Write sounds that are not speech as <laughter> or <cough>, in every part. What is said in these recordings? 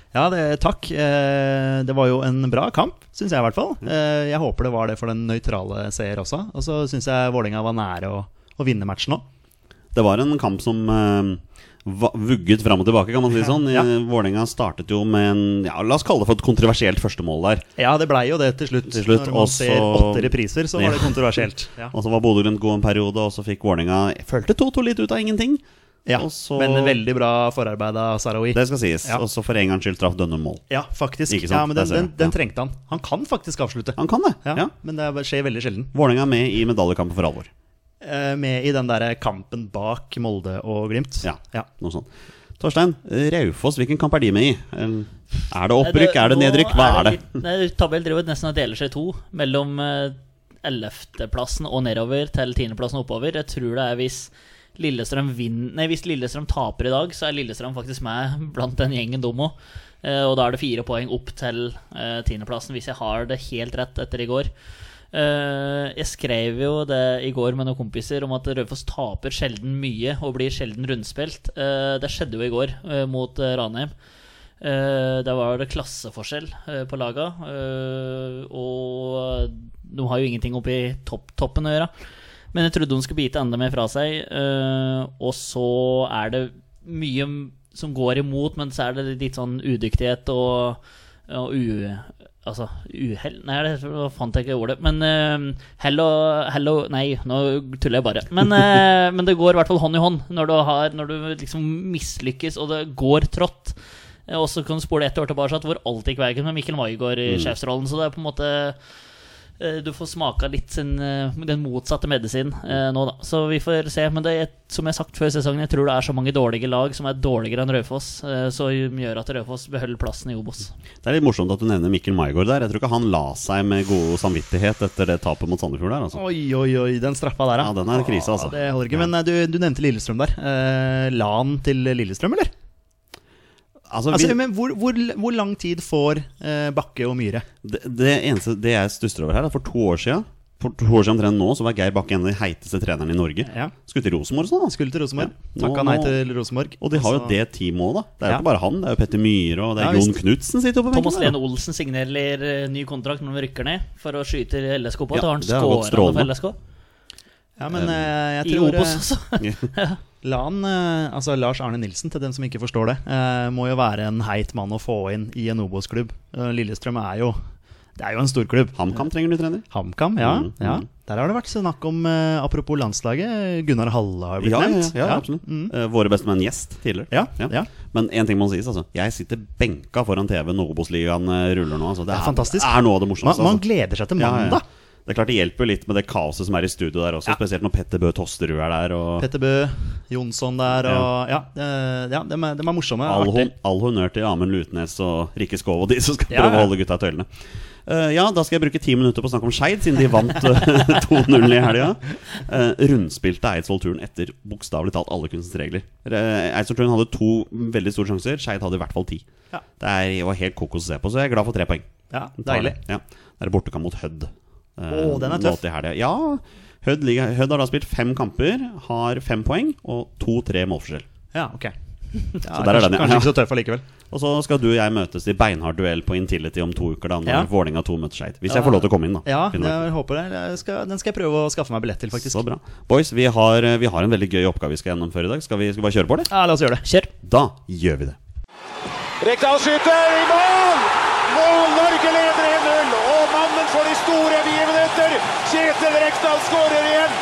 ja det, takk. Eh, det var jo en bra kamp, syns jeg i hvert fall. Mm. Eh, jeg håper det var det for den nøytrale seer også. Og så syns jeg Vålerenga var nære å, å vinne matchen òg. Det var en kamp som eh, va- vugget fram og tilbake, kan man si det sånn. Ja. Eh, Vålinga startet jo med en ja, La oss kalle det for et kontroversielt førstemål der. Ja, det blei jo det til slutt. Til slutt, Når man og så- ser åtte repriser, så var det Ja. <laughs> kontroversielt. Ja. Og så var Bodø-Glimt god en periode, og så fikk Vålinga Følte 2-2 litt ut av ingenting. Ja, Og så- Men veldig bra forarbeid av Sarawi. Det skal sies. Ja. Og så for en gangs skyld traff Dønnum mål. Ja, faktisk. Ikke sant? Ja, men Der den, ser den, jeg. den Ja. trengte han. Han kan faktisk avslutte. Han kan det. Ja, ja. Men det skjer veldig sjelden. Vålinga med i medaljekampen for alvor. Eh, Med i den derre kampen bak Molde og Glimt. Ja, ja. noe sånt. Torstein, Raufoss, hvilken kamp er de med i? Eller, Er det opprykk, er det nå nedrykk, hva er det? litt- Nei, Tabell driver nesten og deler seg i to mellom eh, 11.-plassen og nedover til 10.-plassen og oppover. Jeg tror det er hvis Lillestrøm, vin- nei, hvis Lillestrøm taper i dag, så er Lillestrøm faktisk med blant den gjengen dum òg. Og da er det fire poeng opp til eh, tiendeplassen, hvis jeg har det helt rett etter i går. Eh, jeg skrev jo det i går med noen kompiser om at Raufoss taper sjelden mye og blir sjelden rundspilt. Eh, det skjedde jo i går eh, mot eh, Ranheim. Eh, der var det klasseforskjell eh, på laga, eh, og de har jo ingenting oppi topp toppen å gjøre. Men jeg trodde de skulle bite enda mer fra seg, eh, og så er det mye m- som går imot, men så er det litt sånn udyktighet og, og u... Altså uhell Nei, det hva fant jeg ikke ordet. Men eh, hell og hell og- Nei, nå tuller jeg bare. Men, eh, men det går i hvert fall hånd i hånd når du, har, når du liksom mislykkes, og det går trått. Eh, Og så kan du spole ett år tilbake hvor alt gikk veien med Mikkel Maigard i Mm. sjefsrollen. Så det er på en måte eh, Du får smaka litt sin, eh, den motsatte medisinen eh, nå, da. Så vi får se. Men det er, som jeg har sagt før sesongen, jeg tror det er så mange dårlige lag som er dårligere enn Raufoss, eh, som gjør at Raufoss beholder plassen i Obos. Det er litt morsomt at du nevner Mikkel Maigard der. Jeg tror ikke han la seg med god samvittighet etter det tapet mot Sandefjord der. Altså. Oi, oi, oi, den straffa der, Ja, den er en krise, altså. Ja, det holder ikke. Men eh, du, du nevnte Lillestrøm der. Eh, la han til Lillestrøm, eller? Altså, Altså, vi, men hvor, hvor, hvor lang tid får eh, Bakke og Myhre? det, det eneste det jeg stusser over her, er for to år siden For to år siden omtrent nå så var Geir Bakke en av de heiteste trenerne i Norge. Ja. Skulle til Rosenborg og sånn, da. Skulle til Rosenborg. Ja, nå- Takka nei nå- til Rosenborg. Og de har jo Så- det teamet òg, da. Det er jo Altså- Ja. ikke bare han. Det er jo Petter Myhre, og det Ja, er Jon visst. Knutsen sitter jo på benken. Thomas der, da. Lene Olsen signerer eh, ny kontrakt når de rykker ned, for å skyte LSK på. Ja, Da har han det har gått skåra for strålende. LSK. Ja, men eh, jeg I tror Obos eh, også. La han, eh, altså Lars Arne Nilsen, til dem som ikke forstår det, eh, må jo være en heit mann å få inn i en Obos-klubb. Eh, Lillestrøm er jo Det er jo en storklubb. HamKam trenger ny trener. HamKam, ja, Mm, ja. mm. Der har det vært snakk om, eh, apropos landslaget, Gunnar Halle har jo blitt Ja, ja, ja, nevnt. ja, absolutt. Mm. Eh, våre bestemenn-gjest tidligere. Ja, ja. Men én ting må sies, altså. Jeg sitter benka foran TV når Obos-ligaen eh, ruller nå. Altså. Det, er, fantastisk. er noe av det Man, morsomste. man altså. gleder seg til Ja, ja, ja. mandag. Det er klart det hjelper jo litt med det kaoset som er i studio der også, spesielt når Petter Bø Tosterud er der. Og Petter Bø, Jonsson der og Ja, eh, ja de, er, dem er morsomme. all, artig. hon, all honnør til Amund Lutnes og Rikke Skov og de som skal Ja, prøve ja. å holde gutta i tøylene. Eh, ja, da skal jeg bruke ti minutter på å snakke om Skeid, siden de vant eh, <laughs> 2-0 i helga. Uh, rundspilte Eidsvoll-turen etter bokstavelig talt alle kunstens regler. Eh, Eidsvoll-turen hadde to veldig store sjanser, Skeid hadde i hvert fall ti. Ja. Det er, var helt kokos å se på, så jeg er glad for tre poeng. Ja, Den tar deilig. det. Ja. Det er bortekamp mot Hødd. eh, Å, den er tøff. Nå til helga. Ja, Hødd ligger- Hødd har da spilt fem kamper, har fem poeng og to-tre målforskjell. Ja, ok. Ja, der er kanskje, den, ja. kanskje ikke så tøff allikevel. Og så skal du og jeg møtes i beinhard duell på Intility om to uker, da når Ja. Vålerenga 2 møter Skeid. Hvis jeg får lov til å komme inn, da. Ja, Finner meg. jeg håper det. Jeg skal, den skal jeg prøve å skaffe meg billett til, faktisk. Så bra. Boys, vi har, eh, vi har en veldig gøy oppgave vi skal gjennomføre i dag. Skal vi, skal vi bare kjøre på, eller? Ja, la oss gjøre det. Kjør. Da gjør vi det. Rekdal skyter i mål! Mål! Norge leder 1-0. Og mannen for de store begivenheter, Kjetil Rekdal, skårer igjen.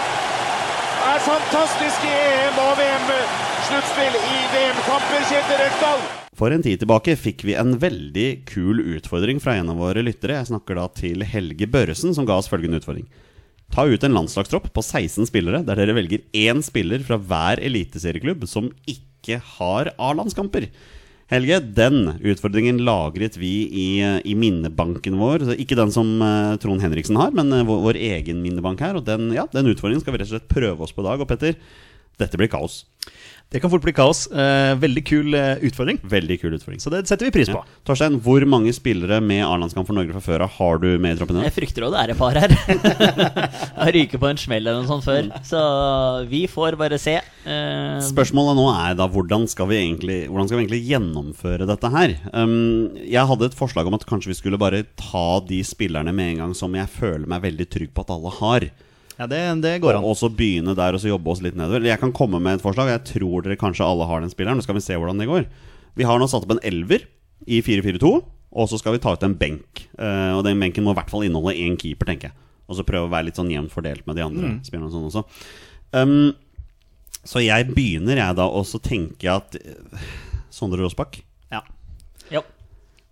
Det er fantastisk i EM- og VM-sluttspill i VM-kamper, Kjetil Rekdal. For en tid tilbake fikk vi en veldig kul utfordring fra en av våre lyttere. Jeg snakker da til Helge Børresen, som ga oss følgende utfordring. Ta ut en landslagstropp på 16 spillere, der dere velger én spiller fra hver eliteserieklubb som ikke har A-landskamper. Helge, den utfordringen lagret vi i, eh, i minnebanken vår. Så Ikke den som eh, Trond Henriksen har, men eh, vår, vår egen minnebank her. Og den, ja, den utfordringen skal vi rett og slett prøve oss på i dag. Og Petter, dette blir kaos. Det kan fort bli kaos. Eh, veldig kul eh, utfordring, Veldig kul utfordring. så det setter vi pris på. Ja. Torstein, hvor mange spillere med A-landskamp for Norge fra før av har du med i troppen din? Jeg frykter også det er et par her. <laughs> Jeg ryker på en smell eller noe sånt før. Så vi får bare se. Eh, Spørsmålet nå er da hvordan skal vi egentlig, hvordan skal vi egentlig gjennomføre dette her? Um, jeg hadde et forslag om at kanskje vi skulle bare ta de spillerne med en gang som jeg føler meg veldig trygg på at alle har. Ja, det, det går an. Og så begynne der og så jobbe oss litt nedover. Jeg kan komme med et forslag. Jeg tror dere kanskje alle har den spilleren. Nå skal vi se hvordan det går. Vi har nå satt opp en elver i 4-4-2, og så skal vi ta ut en benk. Eh, og den benken må i hvert fall inneholde én keeper, tenker jeg. Og så prøve å være litt sånn jevnt fordelt med de andre spillerne og sånn også. Um, så jeg begynner, jeg da, og så tenker jeg at eh, Sondre Rosbakk Ja. ja.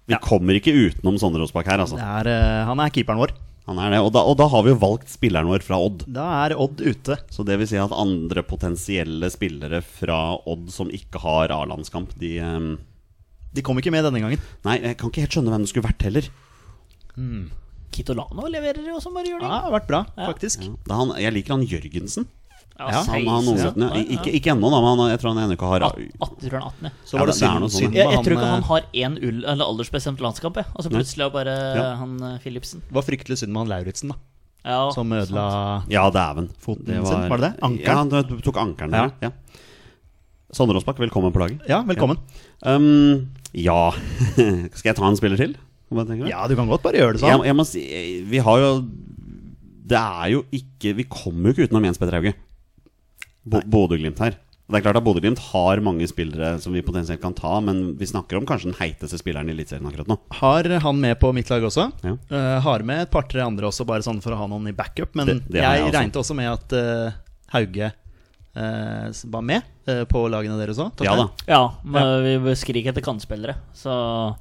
Vi kommer ikke utenom Sondre Rosbakk her, altså. Det er, eh, han er keeperen vår. Han er det. Og da, og da har vi jo valgt spilleren vår fra Odd. Da er Odd ute. Så det vil si at andre potensielle spillere fra Odd som ikke har A-landskamp, de ehm, De kom ikke med denne gangen. Nei, jeg kan ikke helt skjønne hvem det skulle vært heller. Kitolano leverer jo også, bare gjør Ja, det. det har vært bra, Ja. faktisk. Ja, det er han, jeg liker han Jørgensen. Ja, Han har noe seksten, uten, ja. ja. Ikke, ikke ennå, da, men han, jeg tror han ennå ikke har At- atten, tror jeg han er 18. ja. Så Ja, var det det- det er synd, noe sånn, synd Jeg, på jeg tror ikke eh, han har én ull- eller aldersbestemt landskamp. jeg. Altså Plutselig er bare Ja. han eh, Philipsen. var fryktelig synd med han Lauritzen, da. Ja, Som ødela sant. Ja, dæven. Foten sin, var det det? Ankeren? Ja, han t- tok ankeren der. Ja. Sondre Aasbakk, velkommen på laget. Ja, velkommen. Um, ja <laughs> Skal jeg ta en spiller til? Hva tenker du? Ja, du kan godt bare gjøre det jeg, sånn. jeg må si Vi har jo Det er jo ikke Vi kommer jo ikke utenom Jens Petter Hauge. Bo- Bodø-Glimt her. Og Det er klart at Bodø-Glimt har mange spillere som vi potensielt kan ta, men vi snakker om kanskje den heiteste spilleren i Eliteserien akkurat nå. Har han med på mitt lag også. Ja. Eh, har med et par-tre andre også, bare sånn for å ha noen i backup. Men Det- det har jeg, jeg også. regnet også med at eh, Hauge eh, var med eh, på lagene deres òg. Ja da. Ja, men vi vi skriker etter kantspillere. Så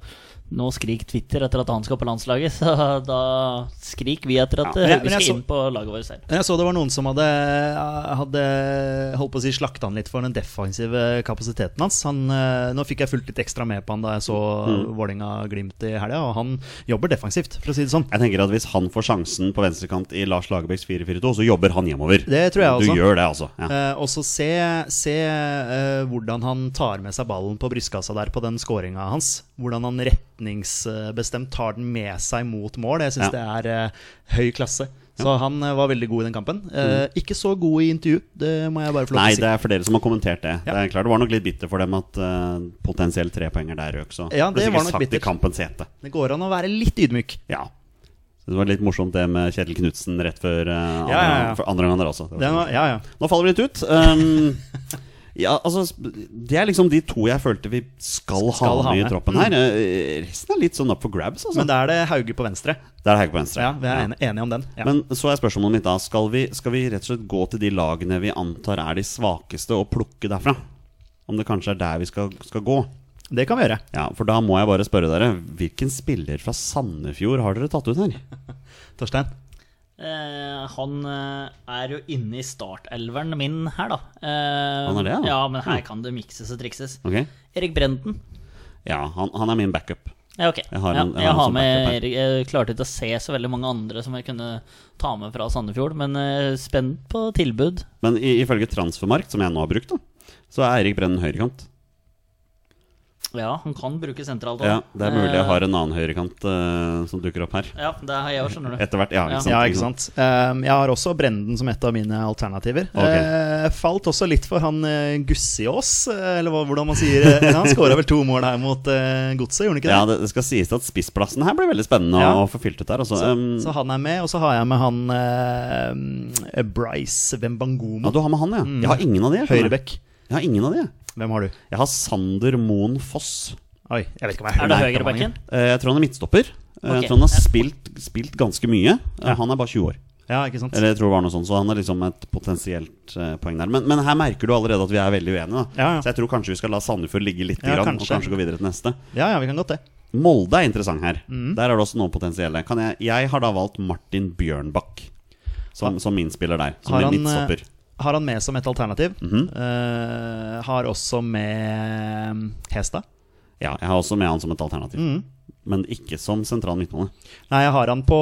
nå skrik Twitter etter at han skal på landslaget, <laughs> så da skrik vi etter at Ja, men jeg- eh, Hauge men jeg skal så- inn på laget vårt selv. Eh, Jeg så det var noen som hadde, eh, hadde holdt på å si slakta han litt for den defensive kapasiteten hans. Han, eh, nå fikk jeg fulgt litt ekstra med på han da jeg så Vålerenga-Glimt i helga, og han jobber defensivt, for å si det sånn. Jeg tenker at Hvis han får sjansen på venstrekant i Lars Lagerbäcks 4-4-2, så jobber han hjemover. Det tror jeg også. Du gjør det, altså. Ja. Eh, og så se, se eh, hvordan han tar med seg ballen på brystkassa der på den skåringa hans. Hvordan han retningsbestemt tar den med seg mot mål. Jeg syns det er eh, høy klasse. Så han eh, var veldig god i den kampen. Eh, Ikke så god i intervju, det må jeg bare få lov Mm. Nei, til å si. det er for dere som har kommentert det. Ja. Det er klart det var nok litt bitter for dem at uh, potensielt trepoenger der røk, så Ja, ble det sikkert var nok satt bittert. i kampens hete. Det går an å være litt ydmyk. Ja. Så det var litt morsomt det med Kjetil Knutsen rett før eh, andre, Ja, ja, ja. for andre gang der også. Det var Den sånn. var, ja, ja. Nå faller vi litt ut. Um, <laughs> ja, altså sp- Det er liksom de to jeg følte vi skal, Skal ha ha med i med. troppen her. Eh, Resten er litt sånn up for grabs, altså. Men da er det Hauge på venstre. Der er Hauge på venstre. Ja, Vi er enige, enige om den. Ja. Men så er spørsmålet mitt da skal vi, skal vi rett og slett gå til de lagene vi antar er de svakeste, og plukke derfra? Om det kanskje er der vi skal, skal gå? det kan vi gjøre. Ja, For da må jeg bare spørre dere Hvilken spiller fra Sandefjord har dere tatt ut her? Torstein. Eh, han eh, er jo inne i startelveren min her, da. Eh, Han er det, ja. ja? Men her Ja. kan det mikses og trikses. Ok? Erik Brenden. Ja, han, han er min backup. Ja, ok. Jeg har en- ja, jeg har en jeg har som med backup Erik. Jeg klarte ikke å se så veldig mange andre som jeg kunne ta med fra Sandefjord, men eh, spent på tilbud. Men i, ifølge Transfermarkt, som jeg nå har brukt, da, så er Erik Brennen høyrekant. Ja, han kan bruke sentralt også. Ja, det er mulig jeg Eh, har en annen høyrekant eh, som dukker opp her. Ja, det har jeg òg, skjønner du. Etter hvert, ja. Ja. Ikke sant? Ja, ikke sant. Um, jeg har også Brenden som et av mine alternativer. Ok. Eh, falt også litt for han uh, Gussiås, eh, eller hva, hvordan man sier det. Han skåra vel to mål her mot uh, Godset, gjorde han ikke det? Ja, det, det skal sies at spissplassen her blir veldig spennende Ja. å få fylt ut der. Altså. Så, Um, så han er med, og så har jeg med han eh, Bryce ja, Wembangomo. du har med han, ja. Mm. Jeg har ingen av de. jeg skjønner. Høyrebekk. Jeg har ingen av de. jeg. Hvem har du? Jeg har Sander Moen Foss. Oi, jeg vet ikke om jeg Er det høyrebacken? Eh, Jeg tror han er midtstopper. Eh, Ok. Jeg tror han har spilt, spilt ganske mye. Eh, Han er bare 20 år. Ja, ikke sant. Eller jeg tror det var noe sånt, så han er liksom et potensielt eh, poeng der. Men, men her merker du allerede at vi er veldig uenige. Da. Ja, ja. Så jeg tror kanskje vi skal la Sandefjord ligge litt, Ja, grann, kanskje. og kanskje gå videre til neste. Ja, ja, vi kan godt det. Molde er interessant her. Mhm. Der er det også noen potensielle. Kan jeg, jeg har da valgt Martin Bjørnbakk som, som min spiller der. Som Har blir han, eh, midtstopper. Har han med som et alternativ. Mhm. Eh, har også med um, Hestad. Ja, jeg har også med han som et alternativ. Mhm. Men ikke som sentral midtbane. Nei, jeg har han på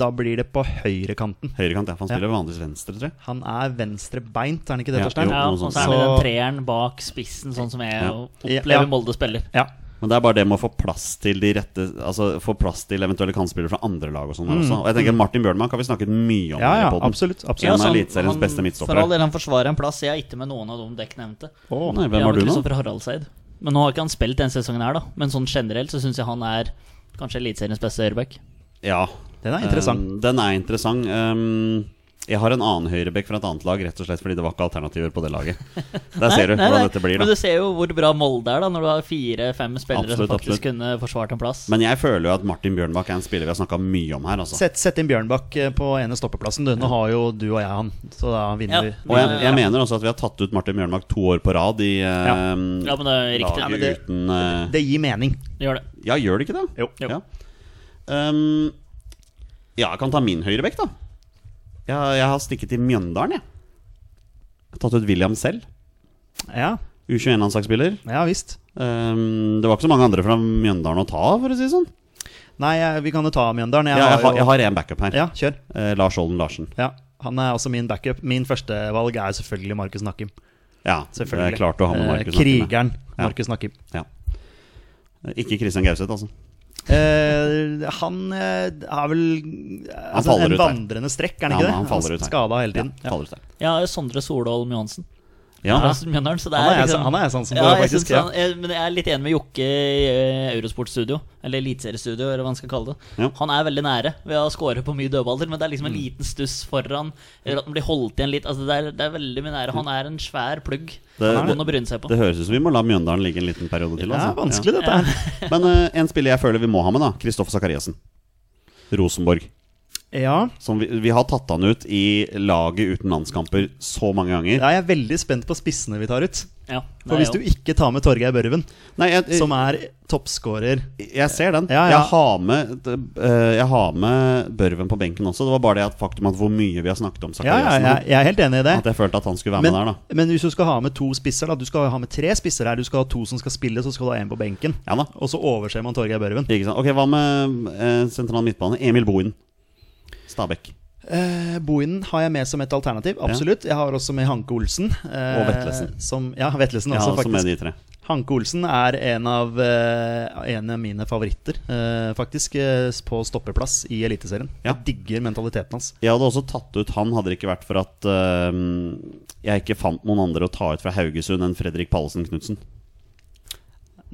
Da blir det på høyrekanten. Høyrekant, ja. for Han spiller vanligvis venstre, tror jeg. Han er venstrebeint, er han ikke det, Ja, Torstein? jo. Ja, og noe sånt. så er det den Så- treeren bak spissen, sånn som jeg Ja. opplever Ja. Molde spiller. Ja. Men det er bare det med å få plass til de rette Altså få plass til eventuelle kantspillere fra andre lag og sånn her også. Og jeg tenker Martin Bjørnbakk har vi snakket mye om Mm. Ja, her i ja, podden. absolutt. absolutt. Ja, så han- Eliteseriens han- beste midtstopper. For all del, han forsvarer en plass. Jeg er ikke med noen av de dekk nevnte. Å, nei, Jeg hvem har har med du nå? Kristoffer Haraldseid. liksom Men nå har ikke han spilt denne sesongen her, da. Men sånn generelt så syns jeg han er kanskje Eliteseriens beste høyreback. Ja. Den er interessant. Um, den er interessant. Um, jeg har en annen høyrebekk fra et annet lag, rett og slett fordi det var ikke alternativer på det laget. <laughs> Der ser du hvordan dette blir, Men da. du ser jo hvor bra Molde er, da, når du har fire-fem spillere Absolutt, som absolutt. faktisk kunne forsvart en plass. Men jeg føler jo at Martin Bjørnbakk er en spiller vi har snakka mye om her, altså. Sett, sett inn Bjørnbakk eh, på ene stoppeplassen. Du. Nå har jo du og jeg han, så da Ja. vinner vi. Og jeg, jeg mener også at vi har tatt ut Martin Bjørnbakk to år på rad i um, ja, men det er riktig. laget men det- uten uh, Det gir mening. Gjør det. Ja, gjør det ikke det? Jo. Jo. Ja. Um, ja, jeg kan ta min høyrebekk, da. Jeg, jeg har stikket til Mjøndalen, jeg. jeg. har Tatt ut William selv. Ja, U21-landslagsspiller. ja visst. Um, det var ikke så mange andre fra Mjøndalen å ta av, for å si det sånn. Nei, jeg, vi kan jo ta Mjøndalen. Ja, jeg, har, jo- jeg har en backup her. ja, kjør. Eh, Lars Olden Larsen. Ja, han er også min backup. Min førstevalg er selvfølgelig Markus Nakkim. Ja, Selvfølgelig. Det er klart å ha med Eh, Markus Nakkim, ja. Krigeren Ja. Markus Nakkim. Eh, Ikke Christian Gauseth, altså. Eh, han eh, er vel eh, altså, faller en ut her. vandrende strekk, er Ja, han ikke det? men han faller ut her. skada hele Ja, tiden. Ja. faller ut der. Ja, Sondre Solholm Johansen. Ja, Han er også Mjøndalen, så det Han er er jeg- liksom han er jeg sånn som ja, bare jeg faktisk, synes han, jeg, Men jeg er litt enig med Jokke i eh, Eurosportstudio, eller Eliteseriestudio, eller hva han skal kalle det. Ja. Han er veldig nære ved å score på mye dødballer, men det er liksom en liten stuss foran, eller at den blir holdt igjen litt. Altså, det, er, det er veldig mye nære. Han er en svær plugg. Det- Han er god å bryne seg på. Det høres ut som vi må la Mjøndalen ligge en liten periode til. Det altså. er vanskelig, dette Ja. her. Men eh, en spiller jeg føler vi må ha med, da. Kristoffer Sakariassen. Rosenborg. Ja. Som vi, vi har tatt han ut i laget uten landskamper så mange ganger. Da er jeg veldig spent på spissene vi tar ut. Ja, det For er hvis jo- du ikke tar med Torgeir Børven, Nei, jeg, som er toppskårer jeg ser den. Ja, ja. Jeg, har med, eh, jeg har med Børven på benken også. Det var bare det at faktum at hvor mye vi har snakket om Ja, ja, Sakariassen. jeg, jeg er helt enig i det. At jeg følte at han skulle være Men, med der, da. men hvis du skal ha med to spisser, da Du skal ha med tre spisser her. Du skal ha to som skal spille, så skal du ha én på benken. Ja da. Og så overser man Torgeir Børven. Ikke sant? Ok, Hva med eh, sentral midtbane? Emil Bohin. Stabæk. Eh, Bohinen har jeg med som et alternativ. Absolutt. Jeg har også med Hanke Olsen. eh, Og Vetlesen. Som, ja, Vetlesen Ja, også, også med faktisk. de tre. Hanke Olsen er en av, eh, en av mine favoritter, eh, faktisk, eh, på stoppeplass i Eliteserien. Ja. Jeg digger mentaliteten hans. Jeg hadde også tatt ut han, hadde det ikke vært for at øhm, jeg ikke fant noen andre å ta ut fra Haugesund enn Fredrik Pallesen Knutsen.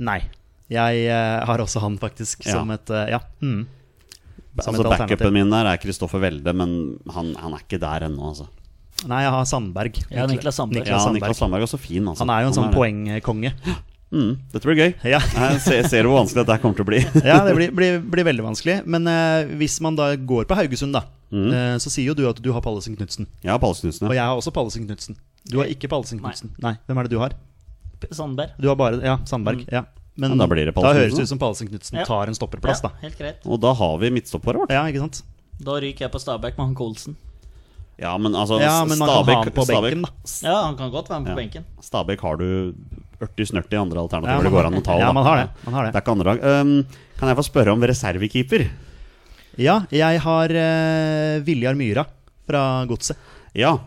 Nei. Jeg eh, har også han, faktisk, Ja. som et eh, Ja. Mm. Som Altså et alternativ. Backupen min der er Kristoffer Welde, men han, han er ikke der ennå, altså. Nei, jeg har Sandberg. Ja, Niklas Sandberg. Ja, Niklas Sandberg. Niklas Sandberg er også fin, altså. Han er jo en sånn det. poengkonge. Mm, dette blir gøy. <laughs> Ja. <laughs> Jeg ser, ser hvor vanskelig dette her kommer til å bli. <laughs> ja, det blir, blir, blir veldig vanskelig. Men eh, hvis man da går på Haugesund, da, Mm. eh, så sier jo du at du har Pallesen Knutsen. Ja, Pallesen Knutsen. Og Ja. jeg har også Pallesen Knutsen. Du har ikke Pallesen Nei. Knutsen. Nei. Hvem er det du har? Sandberg. Du har bare Ja, Sandberg. Ja. Men Mm. Ja, da blir det da Pallesen høres Knudsen, det ut som Pallesen Knutsen Ja. tar en stopperplass, ja, da. helt greit. Og da har vi midtstopperet vårt. Ja, ikke sant? Da ryker jeg på Stabæk med Hanke Olsen. Ja, men altså Ja, men man kan ha han på Stabæk- benken, da. Ja, han kan godt være med på Ja. benken. Stabæk har du ørti-snørti andre Ja, alternativer man det går an å ta. ja, da. man har det. Man har Det det. er ikke andre lag. Øhm, kan jeg få spørre om reservekeeper? Ja, jeg har eh, Viljar Myra fra Godset. Ja,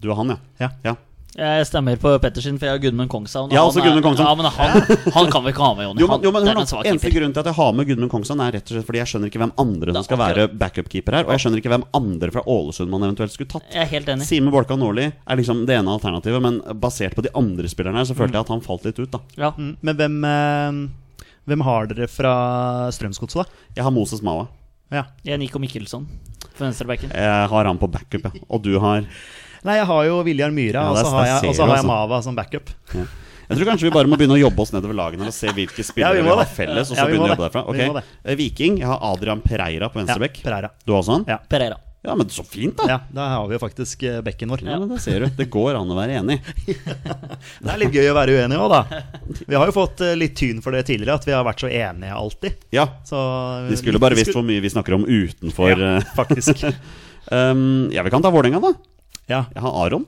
du er han, ja. Ja. ja. Jeg stemmer på Pettersen, for jeg har Gudmund Kongshavn. og Ja, han også er- Gudmund Kongshavn. Ja, men han, han kan vi ikke ha med, <laughs> Jonny. Jo, men, jo, men Han- det hør er nå, en svak Eneste keeper. grunnen til at jeg har med Gudmund Kongsson, er rett og slett fordi jeg skjønner ikke hvem andre som skal være backup-keeper her. Og jeg skjønner ikke hvem andre fra Ålesund man eventuelt skulle tatt. Jeg er helt enig. Simen Bolkan Nordli er liksom det ene alternativet, men basert på de andre spillerne her, så følte jeg at han falt litt ut, da. Ja. Mm, Men hvem, eh, hvem har dere fra Strømsgodset, da? Jeg har Moses Mawa. Ja. Jeg er Nico Mikkelsson på venstrebacken. Jeg har han på backup, ja. Og du har Nei, jeg har jo Viljar Myhra, Ja, og der- så har der ser jeg, og du, så har altså. jeg Mava som backup. ja. Jeg tror kanskje vi bare må begynne å jobbe oss nedover lagene og se hvilke spillere Ja, vi vi, må har det. felles, og så Ja, vi begynne må å det. jobbe derfra. Vi må Ok, Eh, Viking. Jeg har Adrian Pereira på Ja, venstrebekk. Pereira. Du har også han? Ja. Pereira. Ja, men så fint, da. Ja, da har vi jo faktisk eh, bekken vår. Ja, men det ser du. Det går an å være enig. Det er litt gøy å være uenig òg, da. Vi har jo fått eh, litt tyn for det tidligere, at vi har vært så enige alltid. Ja. Så De skulle bare visst hvor mye vi snakker om utenfor Eh, Ja, eh, faktisk. <laughs> Um, ja, vi kan ta Vålerenga, da. Ja. Jeg har Aron.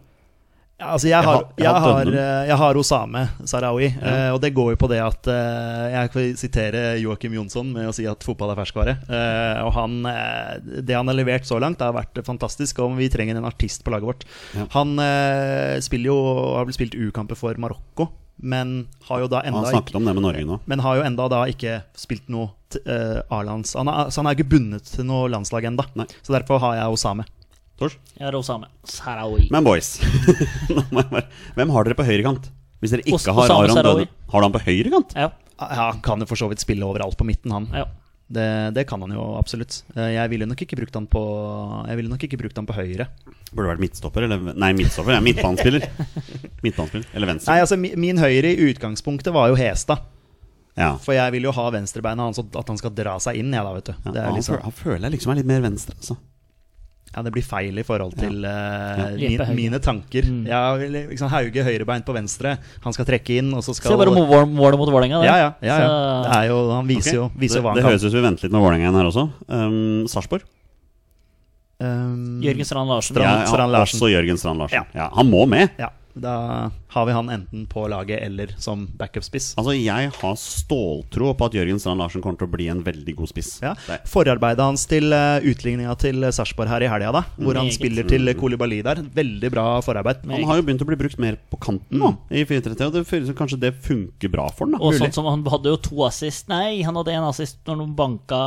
Ja, Altså jeg, har, har- jeg jeg, har har, Dønnum. eh, jeg har Osame Sarawi, eh, og det går jo på det at eh, Jeg får sitere Joakim Jonsson med å si at fotball er ferskvare. Eh, Og han, eh, det han har levert så langt, har vært fantastisk, og vi trenger en artist på laget vårt. Ja. Han eh, spiller jo, har vel spilt U-kamper for Marokko, men har jo da Han enda snakket om det med Norge nå. men har jo enda da ikke spilt noe t- eh, A-lands. Han er- så han er ikke bundet til noe landslag enda Nei. Så derfor har jeg Osame. Tors? Jeg er Osame. Sarawi. Men boys, <laughs> nå må jeg bare- hvem har dere på høyrekant? Hvis dere Os- ikke har Osama Aron Sarawi. Dødum, har du han på høyrekant? Ja, Ja, han kan jo for så vidt spille overalt på midten, han. ja. Det, det kan han jo absolutt. Eh, Jeg ville nok ikke brukt han på Jeg ville nok ikke brukt han på høyre. Burde vært midtstopper, eller Nei, midtstopper, ja, midtbanespiller. <laughs> Midtbanespiller, eller venstre. Nei, altså mi- Min høyre i utgangspunktet var jo Hestad. Ja. For jeg vil jo ha venstrebeinet hans, og at han skal dra seg inn. Jeg, da, vet du. Ja, Det, er han, liksom, føler, han føler jeg liksom er litt mer venstre, altså. ja, det blir feil i forhold til eh, Litt på høyre. min, mine tanker. Mm. Jeg vil liksom Hauge høyrebeint på venstre, han skal trekke inn, og så skal Se bare mål- målet mot Vålerenga. det. ja, ja, ja, ja. Så- Det er jo, Han viser Ok, jo viser det, jo hva det han høres kan. ut som vi venter litt med Vålerenga igjen her også. Um, Sarpsborg. Um, Jørgen Strand Larsen. Strand- Ja, Strand ja, Larsen. også Jørgen Strand Larsen. Ja. Ja, han må med! ja, da har vi han enten på laget eller som backup-spiss. Altså, Jeg har ståltro på at Jørgen Strand Larsen kommer til å bli en veldig god spiss. Ja. Det- Forarbeidet hans til uh, utligninga til Sarpsborg her i helga, da, hvor han Meget. spiller til eh, Kolibali der. Veldig bra forarbeid. Meget. Han har jo begynt å bli brukt mer på kanten nå, i 4-3-3, og det føles som kanskje det funker bra for han da. Mm. Og mulig. sånn som han hadde jo to assist Nei, han hadde én assist når han banka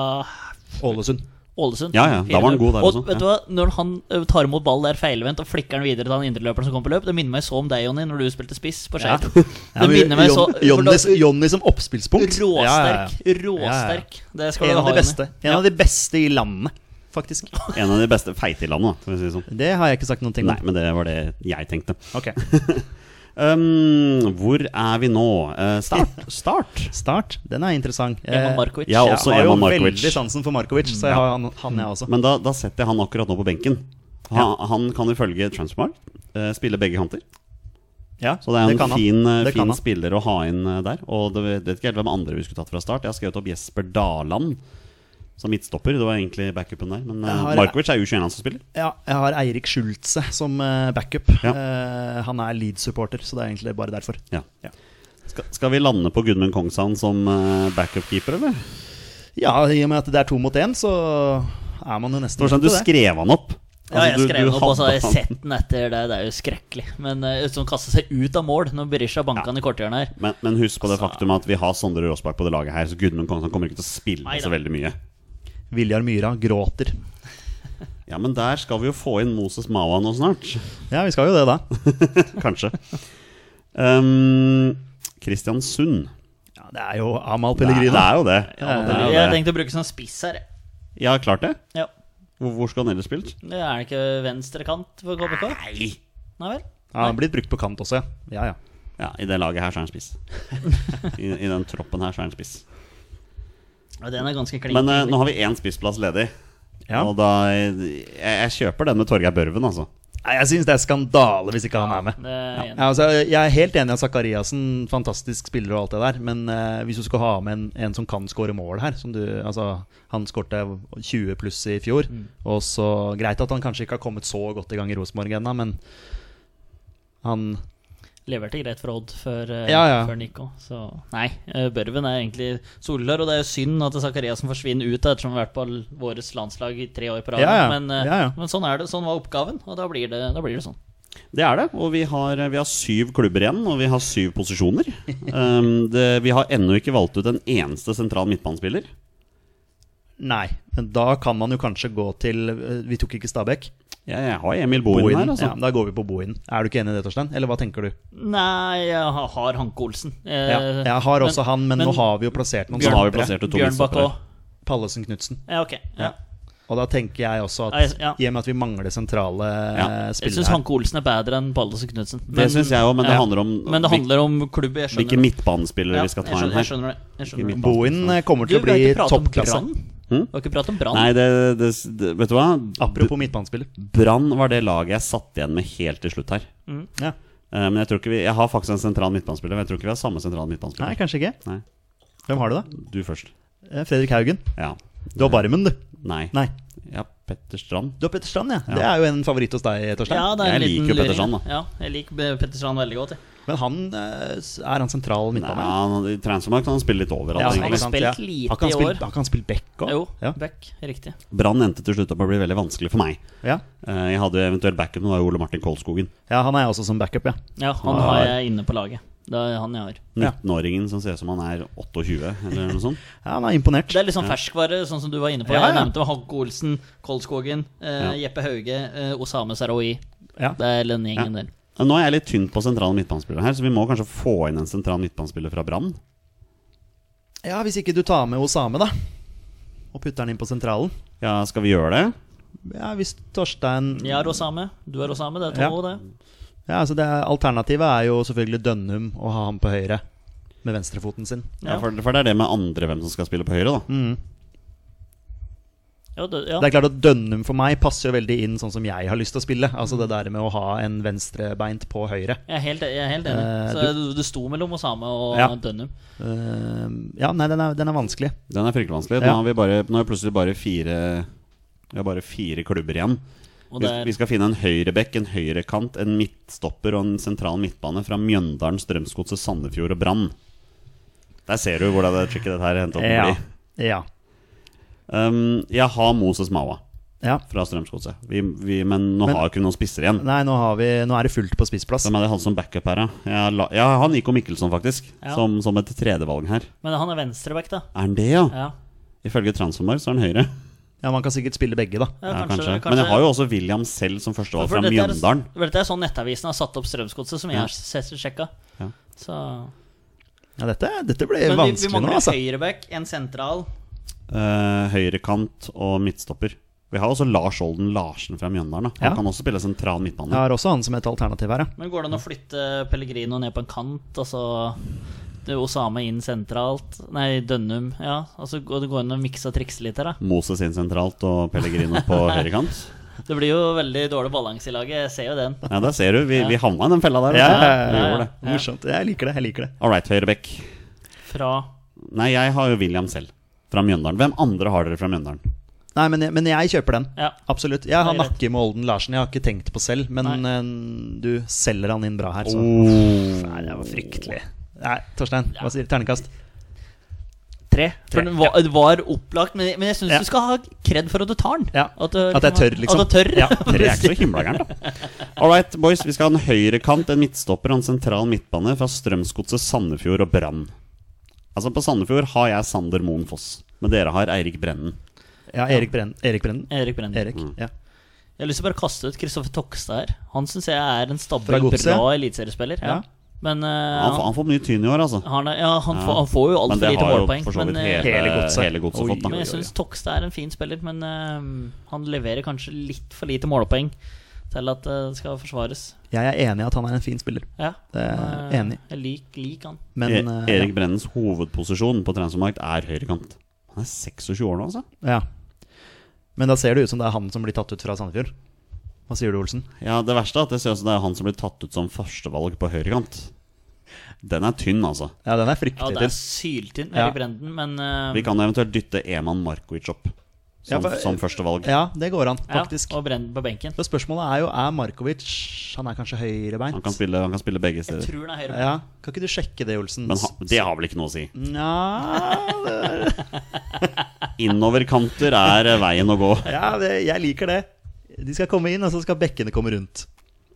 Ålesund. Ålesund. Ja, ja, da var han god der og også, vet du hva, når han ø, tar imot ball der feilvendt og flikker den videre til han indreløperen som kom på løp Det minner meg så om deg, Jonny, når du spilte spiss på Skeid. Ja, <laughs> Det men minner meg så Jon- Jonny s- Jonny som oppspillspunkt. Råsterk. Ja, ja, ja. Råsterk. Ja, Det ja. skal En du av ha, de beste. Jonny. En av de beste i landet, faktisk. <laughs> En av de beste feite i landet, da, for å si det sånn. Det har jeg ikke sagt noen ting Nei, om. men det var det jeg tenkte. Ok, Um, hvor er vi nå? Eh, start. <laughs> Start. Start. Den er interessant. Eman Eh, Markovic. Ja, og- også jeg har Eman jo Markovic. Mm. veldig sansen for Markovic, så jeg har han, han jeg også. Men da, da setter jeg han akkurat nå på benken. Han, han kan ifølge Transmark eh, spille begge kanter. Ja, Så det er en kan han. fin, eh, Det kan fin han. spiller å ha inn eh, der. Og det vet ikke helt hvem andre vi skulle tatt fra start. Jeg har skrevet opp Jesper Daland som midtstopper. Det var egentlig backupen der. Men eh, Jeg har- Markovic er U21 han som spiller. Ja, jeg har Eirik Schulze som eh, backup. Ja. Eh, han er Leeds-supporter, så det er egentlig bare derfor. Ja. Ja. Skal, skal vi lande på Gudmund Kongshavn som eh, backup-keeper, eller? Ja, i og med at det er to mot én, så er man jo nesten Torstein, nødt du til det. skrev han opp. Ja, jeg Altså, du- du skrev den opp, og så har jeg hadde han. sett den etter det. Det er jo skrekkelig. Men uh, som kaster seg ut av mål når Berisha banka han i korthjørnet her. Men, men husk på det Altså- faktum at vi har Sondre Råsbakk på det laget her, så Gudmund Kongsson kommer ikke til å spille Neida. så veldig mye. Viljar Myhra gråter. Ja, men der skal vi jo få inn Moses Mawa nå snart. <laughs> Ja, vi skal jo det, da. Kanskje. Um, Kristiansund. Ja, det er jo Amal Det er, det Pellegrino. er jo det. det er jo Jeg det. tenkte å bruke sånn spiss her. Ja, klart det. Ja. Hvor, hvor skulle han ellers spilt? Det Er det ikke venstre kant for KBK? Nei. Nei vel? Ja, han har blitt brukt på kant også, ja. ja, ja. Ja, I det laget her så er han spiss. <laughs> I, I den troppen her så er han spiss. Ja, Den er ganske klink. Men eh, egentlig. nå har vi én spissplass ledig. Ja. Og da jeg, jeg kjøper den med Torgeir Børven, altså. Nei, Jeg syns det er skandale hvis ikke han er med. det er enig. Ja, altså, jeg er helt enig i at Zakariassen, fantastisk spiller og alt det der, men eh, hvis du skal ha med en, en som kan skåre mål her som du, altså, Han skårte 20 pluss i fjor, og så Greit at han kanskje ikke har kommet så godt i gang i Rosenborg ennå, men han Leverte greit for Odd før, eh, Ja, ja. før Nico. Så nei, eh, Børven er egentlig soleklar. Og det er jo synd at Zakariassen forsvinner ut, da, ettersom han har vært på l- vårt landslag i tre år på rad. Ja, ja. Men, eh, Ja, ja. men sånn er det. Sånn var oppgaven, og da blir det, da blir det sånn. Det er det. Og vi har, eh, vi har syv klubber igjen, og vi har syv posisjoner. Um, det, vi har ennå ikke valgt ut en eneste sentral midtbanespiller. Nei, men da kan man jo kanskje gå til eh, Vi tok ikke Stabæk. Jeg, jeg har Emil Bohin, Bohinen, her, altså. Ja, da går vi på Bohinen. Er du ikke enig i det, Torstein? Eller hva tenker du? Nei, jeg har- har Hanke Olsen. Eh, Ja. Jeg har også han, men, nå men- har vi jo plassert noen Så har vi stoppere. plassert ut to Bjørn Bakke midtstoppere. òg. Pallesen Knutsen. Ja, ok. Ja. Og da tenker jeg også at Nei, ja. i og med at vi mangler sentrale Ja. eh, Jeg spillere syns her Hanke Olsen er bedre enn Balles og Knutsen. Det syns jeg òg, men det ja. handler om Men det handler om klubb. Jeg hvil- skjønner hvilke midtbanespillere Ja, vi skal jeg ta inn skjønner- Jeg her. skjønner det. Jeg skjønner det. Ikke Bohin eh, kommer til Du, å vi har bli ikke pratet om toppklasse. Brann. Hm? Vi har ikke pratet om Brann. Nei, det, det, det Vet du hva? Apropos midtbanespiller. Brann var det laget jeg satt igjen med helt til slutt her. Ja. Eh, men jeg tror ikke vi Jeg har faktisk en sentral midtbanespiller, men jeg tror ikke vi har samme sentral Nei, midtbanespiller. kanskje ikke. Nei. Hvem har du, da? Du først. Eh, Fredrik Haugen. Ja. Du har Barmen, du. Nei. Nei. Ja, Petter Strand. Du har Petter Strand, ja. Det er jo en favoritt hos deg, Torstein. Ja, det er en Jeg liten liker jo Petter luring, Strand, da. Ja, jeg liker Be- Petter Strand veldig godt. jeg. Men han eh, s- er han sentral Nei, midtbane? han, I Transformark kan han spille litt overalt. Ja, han egentlig. har ikke sant, spilt ja. lite Har ikke han i spilt- år. Har ikke han spilt back òg? Jo, Ja. Beck. Riktig. Brann endte til slutt opp å bli veldig vanskelig for meg. Ja. Eh, jeg hadde eventuelt backup, men det var jo Ole Martin Kolskogen. ja, han er også som backup, ja. Ja, han Ah. har jeg inne på laget. Det er han jeg har. 19-åringen som ser ut som han er 28, eller noe sånt. ja han er imponert. Det er litt sånn ferskvare, sånn som du var inne på. Ja, Jeg ja. nevnte Hanke Olsen, Kolskogen, eh, Jeppe Hauge, eh, Osame Saroui. Ja. Det er den gjengen der. Nå er jeg litt tynn på sentrale midtbanespillere her, så vi må kanskje få inn en sentral midtbanespiller fra Brann. ja, hvis ikke du tar med Osame, da. Og putter han inn på sentralen. Ja, skal vi gjøre det? Ja, hvis Torstein Jeg er Osame, du er Osame. Det er to, Ja. det. Ja, altså det er, Alternativet er jo selvfølgelig Dønnum å ha ham på høyre med venstrefoten sin. Ja, Ja. Mm. for, for det er det med andre hvem som skal spille på høyre, da. Ja, det, ja. Det er klart at Dønnum for meg passer jo veldig inn sånn som jeg har lyst til å spille. Altså det der med å ha en venstrebeint på høyre. Jeg er helt, jeg er helt enig. Eh, Så du, det sto mellom Osame og Ja. Dønnum. Eh, ja, nei, den er, den er vanskelig. Den er fryktelig vanskelig. Nå Ja. har vi bare, nå har vi plutselig bare fire Vi har bare fire klubber igjen. Og Vi, det er- vi skal finne en høyrebekk, en høyrekant, en midtstopper og en sentral midtbane fra Mjøndalen, Strømsgodset, Sandefjord og Brann. Der ser du hvordan det tricket dette her er hentet opp Ja. å bli. ja. Um, jeg har Moses Mawa ja. fra Strømsgodset, vi, vi, men nå Men- har jo ikke vi noen spisser igjen. Nei, nå, har vi, nå er det fullt på spissplass. Hvem er det han som backup her, da? Jeg har la- Jeg har Nico Mikkelsson, faktisk. Ja. Som, som et tredjevalg her. Men han er venstreback, da. Er han det, ja? Ja, Ifølge Transformar så er han høyre. Ja, Man kan sikkert spille begge, da. ja, Ja, kanskje, kanskje. kanskje. Men jeg har jo også William selv som førstevalg For fra dette er- Mjøndalen. for Dette er sånn Nettavisen har satt opp Strømsgodset, som jeg Ja. har sett- sjekka. Ja. Så Ja, Dette, dette ble Men vi, vi vanskelig nå, mangler altså. høyreback, en sentral. Eh, høyrekant og midtstopper. Vi har også Lars Olden Larsen fra Mjøndalen. Da. Han Ja. kan også spille sentral midtbane. Jeg har også han som et alternativ her, ja. Men går det an å flytte Pellegrino ned på en kant? Altså det er Osame inn sentralt. Nei, Dønnum. Ja, altså går- det går an å mikse og trikse litt her, da. Moses inn sentralt og Pellegrino <laughs> på høyrekant. Det blir jo veldig dårlig balanse i laget. Jeg ser jo den. Ja, Der ser du. Vi, vi havna i den fella der. vet du. ja, Vi ja. gjorde det. Eh, Morsomt. Jeg liker det. jeg liker det All right, høyrebekk. Fra Nei, jeg har jo William selv fra Mjøndalen. Hvem andre har dere fra Mjøndalen? Nei, men jeg, men jeg kjøper den. Ja. Absolutt. Jeg har Det er greit. nakke med Olden Larsen. Jeg har ikke tenkt på selv, men eh, du selger han inn bra her, så Oh. Nei, det var fryktelig. Nei, Torstein, hva sier du? Ternekast? Tre. For den var, var opplagt, men, men jeg syns Ja. du skal ha kred for at du tar den. Ja. At, du, At jeg tør, liksom. At du tør. Ja. Dere er ikke så himla gærne, da. All right, boys. Vi skal ha en høyrekant, en midtstopper og en sentral midtbane fra Strømsgodset, Sandefjord og Brann. Altså, på Sandefjord har jeg Sander Moen Foss, men dere har Eirik Brennen. Ja, Erik Brennen. Erik Brennen. <laughs> Erik Brenden. Erik, Mm. ja. Jeg har lyst til å bare kaste ut Kristoffer Tokstad her. Han syns jeg er en Fra stabil, Godset? bra eliteseriespiller. Ja. Ja. Men eh, Han, får- han, han får mye tyn i år, altså. er- ja, han, Får, han får jo Men altfor det lite har jo målpoeng. for så Men, vidt eh, hele, Hele godset. hele godset Oi, fått, men da. jeg syns Tokstad er en fin spiller, men eh, han leverer kanskje litt for lite målpoeng til at eh, det skal forsvares. Jeg er enig i at han er en fin spiller, Ja, Det er han, eh, enig. Jeg lik, lik han. men E eh, Erik Brennens hovedposisjon på transfermarkt er høyrekant. Han er 26 år nå, altså. ja. Men da ser det ut som det er han som blir tatt ut fra Sandefjord. Hva sier du, Olsen? Ja, Det verste er at det ser ut som det er han som blir tatt ut som førstevalg på høyrekant. Den er tynn, altså. Ja, den er Ja, fryktelig det er syltynt med Ja. Erik Brenden, men eh, Vi kan jo eventuelt dytte Eman Markovic opp som, Ja, for- som førstevalg. Ja, det går an, ja, faktisk. og Brenden på benken. Så spørsmålet er jo er Markovic Han er kanskje høyrebeint? Han kan spille, han kan spille begge Jeg steder. tror den er høyre. Ja, Kan ikke du sjekke det, Olsen? Men ha, det har vel ikke noe å si. Nja, det- Innoverkanter er eh, veien å gå. ja det, jeg liker det. De skal komme inn, og så skal bekkene komme rundt.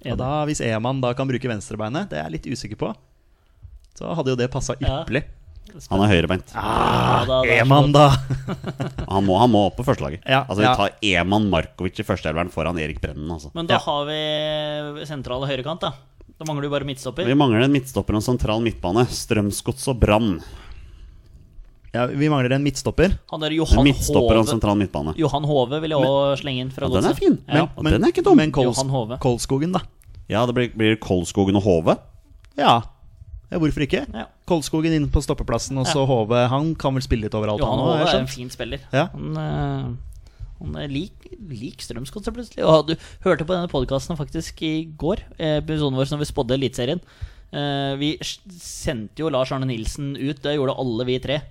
Enig. Og da, hvis Eman da kan bruke venstrebeinet, det er jeg litt usikker på, så hadde jo det passa ypperlig. Han er høyrebeint. Ja, da- da- Eman, da! Han må, han må opp på førstelaget. Ja, altså, vi ja. tar Eman Markovic i førsteelveren foran Erik Brennen. Altså. Men da Ja. har vi sentral og høyrekant, da. Da mangler du bare midtstopper. Vi mangler en midtstopper og en sentral midtbane. Strømsgods og Brann. Ja, vi mangler en midtstopper. Han der En Johan midtstopper og en Hove sentral midtbane. Johan Hove vil jeg òg slenge inn fra Ja, den er godset. fin. Ja. Men- og den er ikke dum. Men Kols Johan Hove. Kolskogen, da. Ja, det blir, blir Kolskogen og Hove. Ja. ja, hvorfor ikke? Ja. Kolskogen inn på stoppeplassen, og så Hove. Han kan vel spille litt overalt, han Johan også, Hove har er jeg en skjønt. fin spiller. Ja. Han, eh, han er lik, lik Strømsgodset plutselig. Og du hørte på denne podkasten faktisk i går, eh, episoden vår som vi spådde Eliteserien. Eh, Vi s- sendte jo Lars Arne Nilsen ut, det gjorde alle vi tre.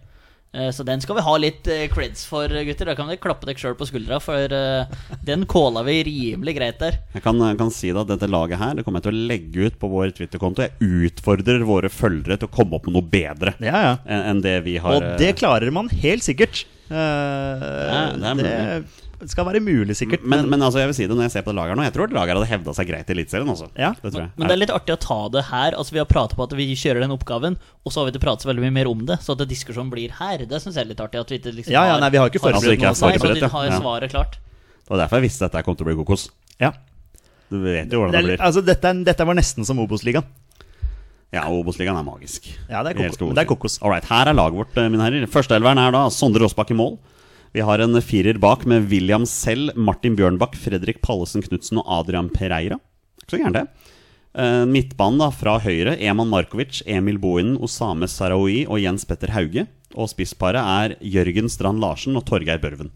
Eh, Så den skal vi ha litt eh, creds for, gutter. Da kan dere klappe dere sjøl på skuldra, for eh, den kåla vi rimelig greit der. Jeg kan, jeg kan si det at dette laget her Det kommer jeg til å legge ut på vår Twitter-konto. Jeg utfordrer våre følgere til å komme opp med noe bedre Ja, ja. enn enn det vi har Og det eh, klarer man helt sikkert. Eh, det er mulig. det skal være mulig, sikkert. men, men altså, jeg vil si det når jeg ser på det laget her nå. Jeg tror det laget her hadde hevda seg greit i Eliteserien også. Ja. Det tror jeg. Men det er litt artig å ta det her. Altså Vi har pratet på at vi kjører den oppgaven, og så har vi ikke pratet så veldig mye mer om det. Så at diskusjonen blir her, det syns jeg er litt artig. At vi ikke liksom Ja, ja, nei, vi har ikke Altså, forberedt ikke noe. jeg Nei, særlig på så forberedt. det. de dette, har ja. svaret klart. Det var derfor jeg visste at dette kom til å bli kokos. Ja. Du vet jo Det hvordan er, det litt- blir. altså, dette, er- dette var nesten som Obos-ligaen. Ja, Obos-ligaen er magisk. Ja, det er Vi kokos. elsker Obos-ligaen. Det er kokos. All right, her er laget vårt, eh, mine herrer. Førsteelveren er da Sondre Aasbakk i mål. Vi har en firer bak med William Sell, Martin Bjørnbakk, Fredrik Pallesen Knutsen og Adrian Pereira. Ikke så gærent, det. Eh, Midtbanen da fra høyre, Eman Markovic, Emil Bohinen, Osame Sarawi og Jens Petter Hauge. Og spissparet er Jørgen Strand Larsen og Torgeir Børven.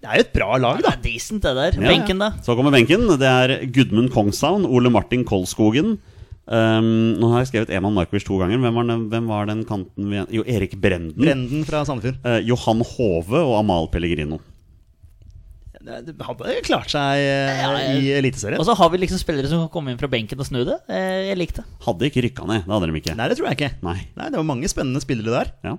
Det er jo et bra lag, Det da. er decent, det der. Ja. Benken, da. Så kommer benken. Det er Gudmund Kongshavn, Ole Martin Kolskogen. Ehm, nå har jeg skrevet Eman Markovic to ganger. Hvem var den, hvem var den kanten vi Jo, Erik Brenden. Brenden fra Sandefjord. Eh, Johan Hove og Amal Pellegrino. Det det hadde klart seg eh, Ja, jeg- i Og Eliteserien. så har vi liksom spillere som kan komme inn fra benken og snu det. Eh, Jeg likte det. Hadde ikke rykka ned. Det hadde de ikke. Nei, det tror jeg ikke. Nei. Nei, Det var mange spennende spillere der. Ja.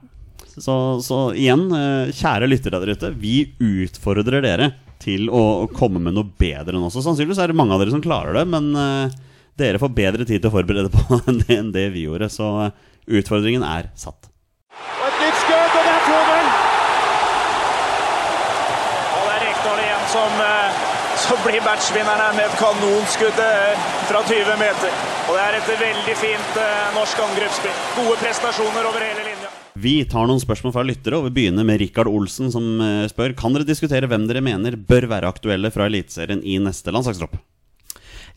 Så, så igjen, eh, kjære lyttere der ute, vi utfordrer dere til å komme med noe bedre enn oss. Og Sannsynligvis er det mange av dere som klarer det, men eh, dere får bedre tid til å forberede på <laughs> enn det, enn det vi gjorde. Så eh, utfordringen er satt. Og et nytt skudd, og det er 2-0! Og det er Rekdal igjen som, eh, som blir matchvinneren med et kanonskudd eh, fra 20 meter. Og det er et veldig fint eh, norsk angrepsspill. Gode prestasjoner over hele linja. Vi tar noen spørsmål fra lyttere, og vi begynner med Rikard Olsen, som eh, spør Kan dere diskutere hvem dere mener bør være aktuelle fra Eliteserien i neste landslagstropp?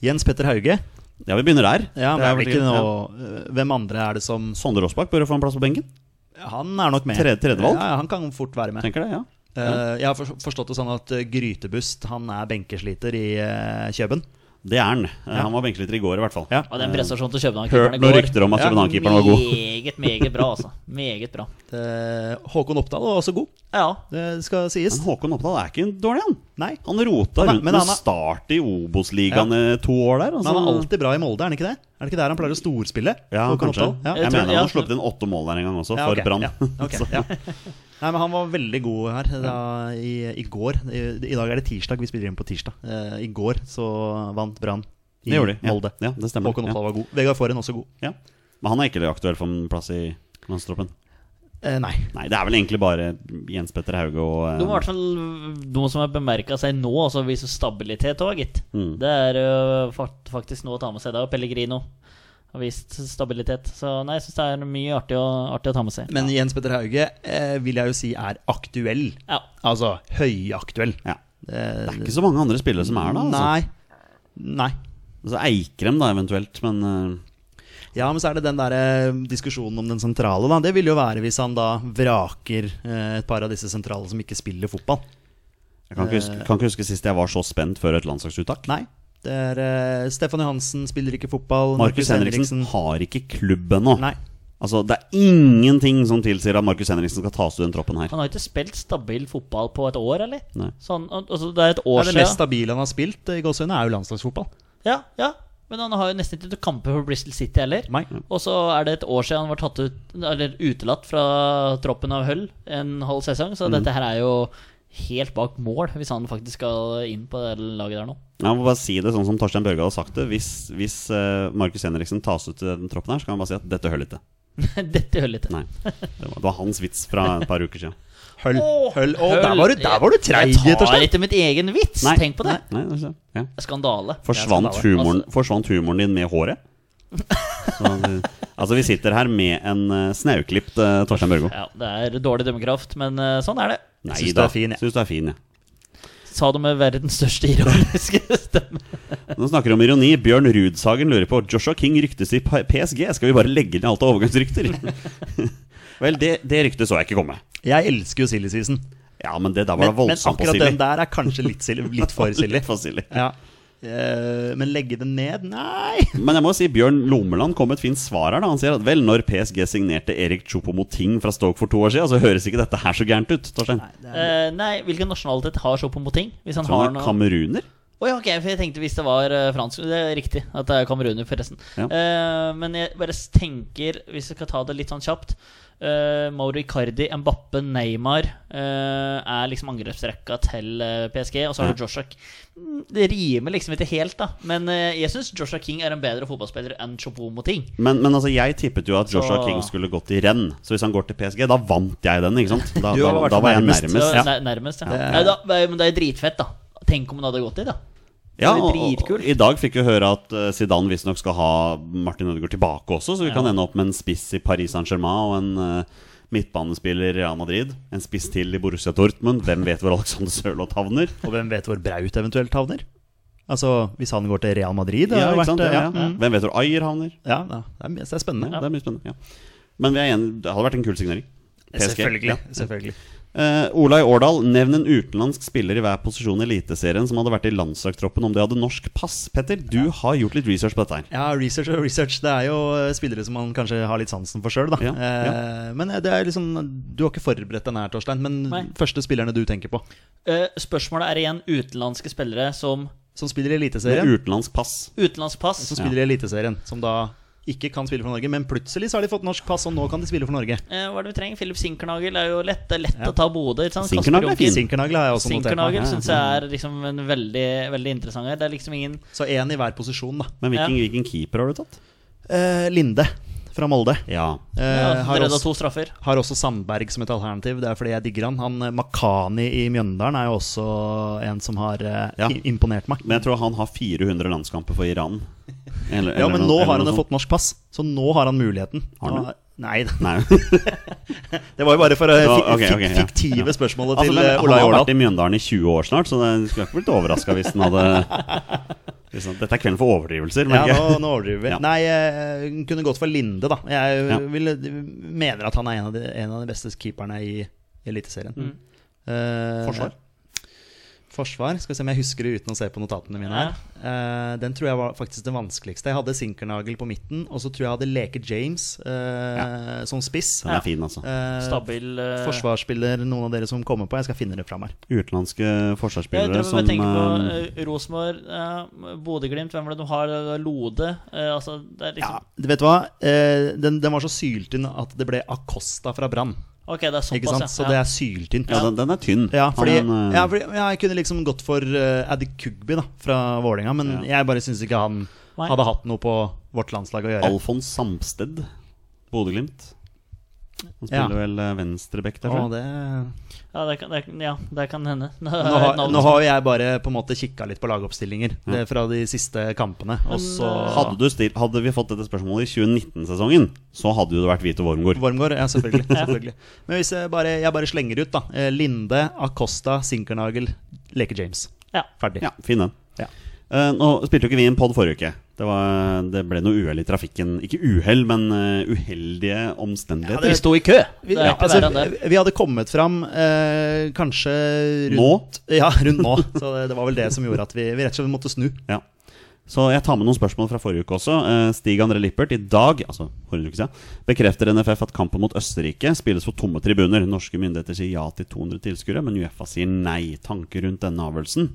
Jens Petter Hauge. Ja, vi begynner der. Ja, Det er men det er vel vel ikke ikke- noe eh, Hvem andre er det som Sondre Aasbakk bør jo få en plass på benken. Han er nok med. Tredje- tredjevalg? Ja, ja, han kan fort være med. Tenker det, ja. Eh, jeg har for- forstått det sånn at eh, Grytebust han er benkesliter i eh, Kjøben. Det er han. Eh, Han var benkeliter i går, i hvert fall. Ja. Og den prestasjonen til Hørt København-keeperen i noen går. rykter om at Ja, København-keeperen var god. Meget, meget bra, altså. Meget bra. Eh, Håkon Oppdal var også god, Ja. det skal sies. Men Håkon Oppdal er ikke en dårlig, han. Nei. Han rota Han er- rundt men med han er- start i Obos-ligaen eh, to år der. Men Altså. han er alltid bra i Molde, er han ikke det? Er det ikke der han pleier å storspille? ja, Håkon kanskje. Oppdal? Ja. Jeg Jeg tror- mener han ja. har sluppet inn åtte mål der en gang også, Ja, ok, for Brann. ja, <laughs> ok, ja. Nei, men Han var veldig god her da, i, i går. I, I dag er det tirsdag, vi spiller inn på tirsdag. Eh, I går så vant Brann i Det gjorde de. Ja. Molde. Ja, det stemmer. Håkon Ja. Oppdal var god. Vegard Forhen også god. Ja. Men han er ikke aktuell for en plass i landstroppen. Eh, nei. Nei, det er vel egentlig bare Jens Petter Hauge og eh, De var i hvert fall noen som har bemerka seg nå, altså viser stabilitet òg, gitt. Mm. Det er jo fakt- faktisk noe å ta med seg. Det er jo Pellegrino har vist stabilitet. Så nei, jeg syns det er mye artig å, artig å ta med seg. Men Jens Petter Hauge eh, vil jeg jo si er aktuell. Ja. Altså høyaktuell. ja. Det Eh, er ikke så mange andre spillere som er da. Altså. Nei. Nei. Altså Eikrem, da, eventuelt. Men eh, Ja, men så er det den der eh, diskusjonen om den sentrale, da. Det vil jo være hvis han da vraker eh, et par av disse sentrale som ikke spiller fotball. jeg kan ikke, Eh. huske, kan ikke huske sist jeg var så spent før et landslagsuttak. Nei. Det er eh, Stefan Johansen spiller ikke fotball. Markus Henriksen har ikke klubb ennå. Nei. Altså, det er ingenting som tilsier at Markus Henriksen skal tas ut i den troppen her. Han har ikke spilt stabil fotball på et år, eller? Nei. Så han- al- altså, det er et år Det er det mest siden. stabile han har spilt eh, i gåsehudet, er jo landslagsfotball. Ja, ja. Men han har jo nesten ikke noen kamper for Bristol City heller. Nei. Og så er det et år siden han var Mm. tatt ut, eller utelatt fra troppen av Hull en halv sesong, så dette her er jo helt bak mål, hvis han faktisk skal inn på det laget der nå. <laughs> Jeg må bare si det sånn som Torstein Børge har sagt det. Hvis, hvis eh, Markus Henriksen tas ut til den troppen her, så kan han bare si at dette høller ikke. Dette hører litt til. <laughs> Nei. Det var, det var hans vits fra et par uker siden. Høll. Åh, høll. Å, høll. der var du, der var du treig, Jeg rett og tar slett. ikke mitt egen vits! Nei, Tenk på det! Nei, nei, det er så- ja. Skandale. forsvant, Jeg skal Altså- ta det. humoren, forsvant humoren din med <laughs> håret? Så, eh, altså, vi sitter her med en uh, snauklipt eh, Torstein Børgo. Altså, Ja, det er dårlig dømmekraft, men eh, sånn er det. Nei synes du da. er fin, jeg. Syns du er fin, ja. Sa det med verdens største ironiske <laughs> stemme. Nå snakker vi om ironi. Bjørn Rudsagen lurer på Joshua King ryktes i P- PSG. Skal vi bare legge ned alt av overgangsrykter? <laughs> Vel, det, det ryktet så jeg ikke komme. Jeg elsker jo silly season. Ja, men det der var Men, da men voldsomt på akkurat Silly. den der er kanskje litt, silly, litt for silly. Litt <laughs> for silly. Ja. Eh, men legge den ned? <laughs> Nei! Men jeg må si Bjørn Lommeland kom med et fint svar her. da Han sier at vel, når PSG signerte Erik Choupo-Moting fra Stoke for to år siden, så høres ikke dette her så gærent ut. Torstein. Eh, nei, hvilken nasjonalitet har Chopo Moting? Hvis han Så han har er noe kameruner? Å ja, ok, for jeg tenkte hvis det var eh, fransk Det er riktig at det er kameruner, forresten. Ja. Eh, men jeg bare tenker, hvis jeg skal ta det litt sånn kjapt eh, Mauro Icardi, Mbappe, Neymar eh, er liksom angrepsrekka til eh, PSG. Og så har du Joshua K- Mm, Det rimer liksom ikke helt, da. Men eh, jeg syns Joshua King er en bedre fotballspiller enn Chopomoting. Men, men altså, jeg tippet jo at Joshua Så- King skulle gått i renn. Så hvis han går til PSG, da vant jeg den, ikke sant? Da, Du da, var i hvert da fall var jeg nærmest. eh, nærmest. Ja. Nærmest, ja. Nei, da, men det er dritfett, da. Tenk om det hadde gått i, da. Ja, Det og, blir og dritkult. I dag fikk vi høre at eh, Zidane visstnok skal ha Martin Ødegaard tilbake også, så vi kan ende opp med en spiss i Paris Saint-Germain og en eh, midtbanespiller i Real Madrid. En spiss til i Borussia Dortmund. Hvem vet hvor Alexander Sørloth havner? Og hvem vet hvor Braut eventuelt havner? Altså, hvis han går til Real Madrid? det Ja, har ikke vært, sant? Ja, ja. ja. Mm. Hvem vet hvor Ayer havner? Ja, ja. Det, er, det er spennende. Ja, Det er mye spennende. Ja. Men vi er enige, det hadde vært en kul signering. PSG, Selvfølgelig. ja. selvfølgelig. Eh, Olai Årdal, nevn en utenlandsk spiller i hver posisjon i Eliteserien som hadde vært i landslagstroppen om de hadde norsk pass. Petter, du har gjort litt research på dette her. Ja, research og research. Det er jo eh, spillere som man kanskje har litt sansen for sjøl, da. Ja, Eh, men det er liksom Du har ikke forberedt den her, Torstein, men Nei. første spillerne du tenker på Eh, spørsmålet er igjen utenlandske spillere som som spiller i Med Eliteserien, utenlandsk pass. Utenlandsk pass. som spiller i Eliteserien, som da ikke kan spille for Norge, men plutselig så har de fått norsk pass, og nå kan de spille for Norge. Eh, hva er det vi trenger? Philip Sinkernagel er jo lett, det er lett å ta Bodø. ikke sant? Sinkernagel er Kasper Junker. fin. Sinkernagel har jeg også notert meg. Sinkernagel syns jeg er liksom en veldig, veldig interessant her. Det er liksom ingen Så én i hver posisjon, da. Men hvilken, Ja. hvilken keeper har du tatt? Eh, Linde fra Molde. Ja. Eh, ja, har, Redda også, to straffer. har også Sandberg som et alternativ. Det er fordi jeg digger han. Han eh, Makani i Mjøndalen er jo også en som har eh, Ja. i- imponert meg. Men jeg tror han har 400 landskamper for Iran. Eller- Ja, eller men noe- nå eller har han noe jo sånt. fått norsk pass, så nå har han muligheten. Har han det? Nei, det Nei. var jo bare for eh, Ja, fi- ok, ok, fik- ja. fiktive Ja. <laughs> spørsmålet Altså, til men eh, han Olai har vært Årdal. i Mjøndalen i 20 år snart, så jeg skulle ikke blitt overraska hvis han hadde <laughs> hvis han, Dette er kvelden for overdrivelser. Ja, merker jeg. nå, nå overdriver vi. Ja. Nei, eh, hun kunne gått for Linde, da. Jeg Ja. ville, mener at han er en av de, en av de beste keeperne i Eliteserien. Eh, Forsvar? Forsvar, Skal vi se om jeg husker det uten å se på notatene mine. her Eh, Den tror jeg var faktisk det vanskeligste. Jeg hadde Sinkernagel på midten, og så tror jeg jeg hadde Leke James eh, som <laughs> spiss. Den er fin, altså. Eh, Stabil eh, forsvarsspiller, noen av dere som kommer på. Jeg skal finne det fram her. Utenlandske Jeg forsvarsspillere drømmer som om å tenke på eh, eh, Rosenborg, eh, Bodø-Glimt, hvem var det de har? Lode? eh, altså, det er liksom Du vet hva? Eh, den, den var så syltynn at det ble Acosta fra Brann. Ok, det er Ikke såpass, sant? Så det er syltynt. Ja, Ja, den, den er tynn. fordi, Han, eh, ja, fordi ja, Jeg kunne liksom gått for uh, Addy Kugby da, fra Vålerenga, men jeg bare syns ikke han Nei. hadde hatt noe på vårt landslag å gjøre. Alfons Samsted, Bodø-Glimt. Han Ja. spiller vel eh, venstreback der, Å, tror jeg. det... Ja, det kan, det, kan- ja, det kan hende. <laughs> Nå, nå, har jeg har, navnet nå har jo jeg bare på en måte kikka litt på lagoppstillinger det, fra de siste kampene, og så eh, Hadde, du stilt, hadde vi fått dette spørsmålet i 2019-sesongen, så hadde jo det vært Vito Wormgård. Wormgård, ja, selvfølgelig. selvfølgelig. Men hvis jeg bare, jeg bare slenger ut, da. eh, Linde, Acosta, Sinkernagel, Leke James. som- ja. Ferdig. Ja, fin den. Ja. Eh, nå spilte jo ikke vi en pod forrige uke. Det, var, det ble noe uhell i trafikken. Ikke uhell, men eh, uheldige omstendigheter. Vi sto i kø! Vi, Det er ikke altså, verre enn det. vi hadde kommet fram eh, kanskje rundt nå? Ja, rundt nå. Så det, det var vel det som gjorde at vi, vi rett og slett måtte snu. Ja. Så jeg tar med noen spørsmål fra forrige uke også. Eh, Stig André Lippert, i dag altså forrige uke siden, bekrefter NFF at kampen mot Østerrike spilles på tomme tribuner. Norske myndigheter sier ja til 200 tilskuere, men Uefa sier nei. Tanker rundt denne avgjørelsen?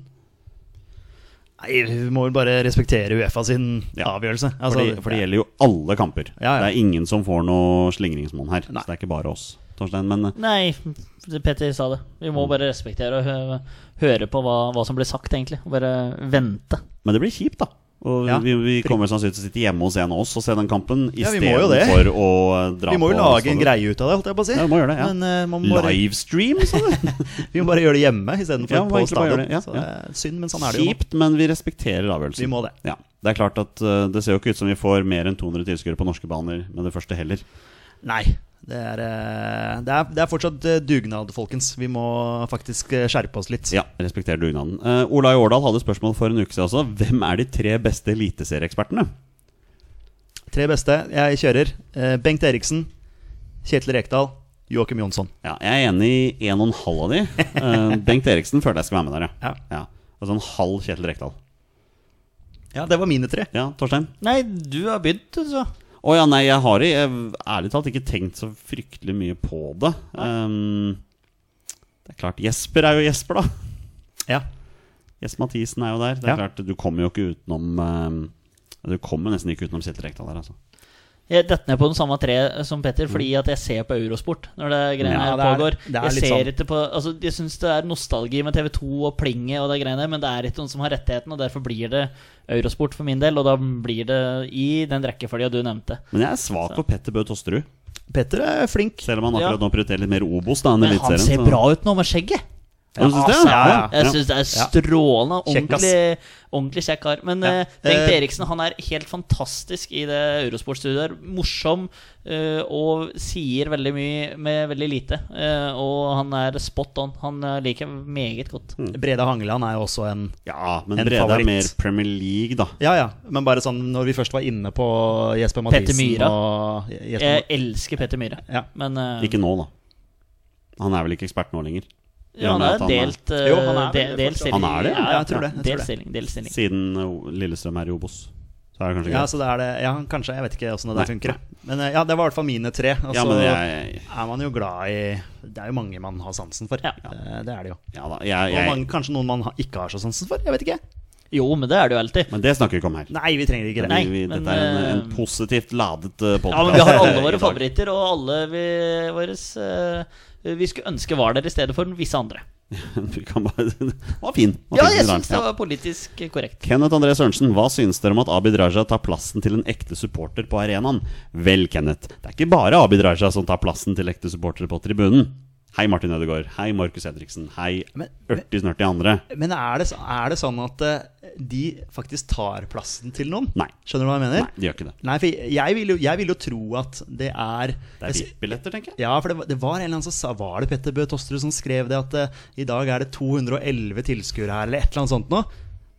Nei, vi må vel bare respektere Uefa sin Ja. avgjørelse. Altså, For det- for det gjelder jo alle kamper. Ja, ja. Det er ingen som får noe slingringsmonn her. Nei. Så det er ikke bare oss. Torstein, men eh, Nei, Petter sa det. Vi Mm. må bare respektere og hø- høre på hva, hva som blir sagt, egentlig. Og bare vente. Men det blir kjipt, da. Og Ja. vi, vi kommer sannsynligvis til å sitte hjemme hos en av oss og se den kampen Ja, vi må jo det. istedenfor å eh, dra på Vi må jo lage en stadion. greie ut av det, holdt jeg på å si. Ja, vi må gjøre det, ja. Men eh, man må bare, Livestream, sa du? vi må bare gjøre det hjemme istedenfor Ja, vi for må på egentlig bare gjøre stadion. det, ja, Så det er synd, men sånn er det jo. nå. Kjipt, men vi respekterer avgjørelsen. Vi må det. Ja. Det er klart at eh, det ser jo ikke ut som vi får mer enn 200 tilskuere på norske baner med det første heller. Nei. Det er, eh, det, er, det er fortsatt eh, dugnad, folkens. Vi må faktisk eh, skjerpe oss litt. Ja, respekterer dugnaden. Uh, Olai Årdal hadde spørsmål for en uke siden også. Hvem er de tre beste eliteserieekspertene? Tre beste. Jeg kjører. eh, Bengt Eriksen, Kjetil Rekdal, Joakim Jonsson. Ja, jeg er enig i en og en halv av de. <laughs> Eh, Bengt Eriksen føler jeg skal være med der, Ja. Altså en halv Kjetil Rekdal. Ja, det var mine tre. Ja, Torstein? Nei, du har begynt, du, så. Å ja, nei, jeg har i- jeg- ærlig talt ikke tenkt så fryktelig mye på det. Ehm, det er klart, Jesper er jo Jesper, da. Ja. Jess Mathisen er jo der. Det er Ja. klart, Du kommer jo ikke utenom ehm, Du kommer nesten ikke utenom Kjetil Rekdal her, altså. Jeg detter ned på den samme tre som Petter, fordi at jeg ser på Eurosport når det greiene Ja, her Mm. det er- pågår. det er jeg litt ser sånn. ikke på Altså, jeg syns det er nostalgi med TV2 og plinget og det greiene, men det er ikke noen som har rettigheten, og derfor blir det Eurosport for min del, og da blir det i den rekkefølga du nevnte. Men jeg er svak for Petter Bø Tosterud. Petter er flink. Selv om han akkurat Ja. nå prioriterer litt mer Obos da, enn Men han Eliteserien. ser så- bra ut nå med skjegget! Ja, du synes det? Altså, Ja, ja. Jeg syns det er strålende. Kjekk, ass. Ordentlig, ordentlig kjekk kar. Men Ja. eh, Bengt Eh, Eriksen han er helt fantastisk i det Eurosport-studioet. her. Morsom eh, og sier veldig mye med veldig lite. Eh, og han er spot on. Han eh, liker jeg meget godt. Breda Hangeland er jo også en Ja, men En Brede favoritt. er mer Premier League, da. Ja, ja. Men bare sånn når vi først var inne på Jesper Petter Mathisen Myhra. og Jesper, Jeg elsker Petter Myhre. Ja. Men eh, Ikke nå, da. Han er vel ikke ekspert nå lenger? I ja, og han med er at en delt, eh, Jo, han er de, vel det delt fortsatt. stilling. Han er det, ja. Ja, Ja, jeg tror det, jeg tror Delt det. stilling. Delt stilling. Siden eh, Lillestrøm er i Obos. Så er det kanskje ja, greit. så det er det. Ja, kanskje. Jeg vet ikke åssen det der Nei, funker. Men eh, ja, det var i hvert fall mine tre. Og altså- Ja, så men jeg, er man jo glad i Det er jo mange man har sansen for. Ja. Eh, Det er det jo. ja da, jeg, Og mange, jeg, kanskje noen man ha- ikke har så sansen for. Jeg vet ikke. Jo, men det er det jo alltid. Men det snakker vi ikke om her. Nei, vi trenger ikke det. Nei, vi, vi, men, dette er en, en eh, positivt ladet eh, podkast. Ja, men vi har <laughs> alle <laughs> våre favoritter, og alle vi, våres, eh, vi skulle ønske var der i stedet for visse andre. <laughs> vi kan bare, det var fin. Det var Ja, fin jeg i dag. syns det Ja. var politisk korrekt. Kenneth André Sørensen, hva synes dere om at Abid Raja tar plassen til en ekte supporter på arenaen? Vel, Kenneth, det er ikke bare Abid Raja som tar plassen til ekte supportere på tribunen. Hei, Martin Ødegaard. Hei, Markus Henriksen. Hei, Men- ørti-snørti andre. Men er det, så- er det sånn at eh, de faktisk tar plassen til noen? Nei. Skjønner du hva jeg mener? Nei, de gjør ikke det. Nei, for jeg vil, jo, jeg vil jo tro at det er Det er VIP-billetter, tenker jeg. Ja, for det var, det var en eller annen som sa Var det Petter Bø Tosterud som skrev det at eh, i dag er det 211 tilskuere her, eller et eller annet sånt noe?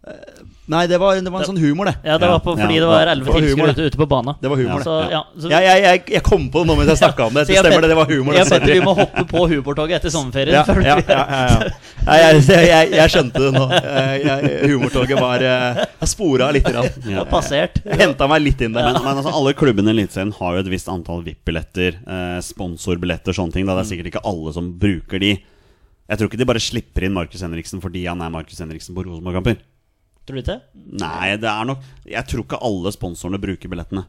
Eh, nei, det var, det var en sånn humor, det. Ja, det var på, Ja, fordi ja, det var ja. elleve Det var humor, det. tilskuere ute, ute på bana. Det var humor, så, det. ja, så, Ja, jeg, jeg, jeg kom på det nå mens jeg snakka <laughs> om det. så Det jeg og stemmer, Petter- det. Det var humor. Jeg og Det, Petter, vi må hoppe på humortoget etter sommerferien. ja, før ja, vi- ja, ja, ja. <laughs> Nei, jeg, jeg, jeg, jeg skjønte det nå. Jeg, jeg, humortoget var eh, Jeg spora litt. grann. Det er passert. Henta meg litt inn der. Men, men altså, alle klubbene i Eliteserien har jo et visst antall VIP-billetter, eh, sponsorbilletter, sånne ting. Da. Det er sikkert ikke alle som bruker de. Jeg tror ikke de bare slipper inn Markus Henriksen fordi han er Markus Henriksen på Rosenborg-kamper. Tror du ikke? Nei, det er nok Jeg tror ikke alle sponsorene bruker billettene.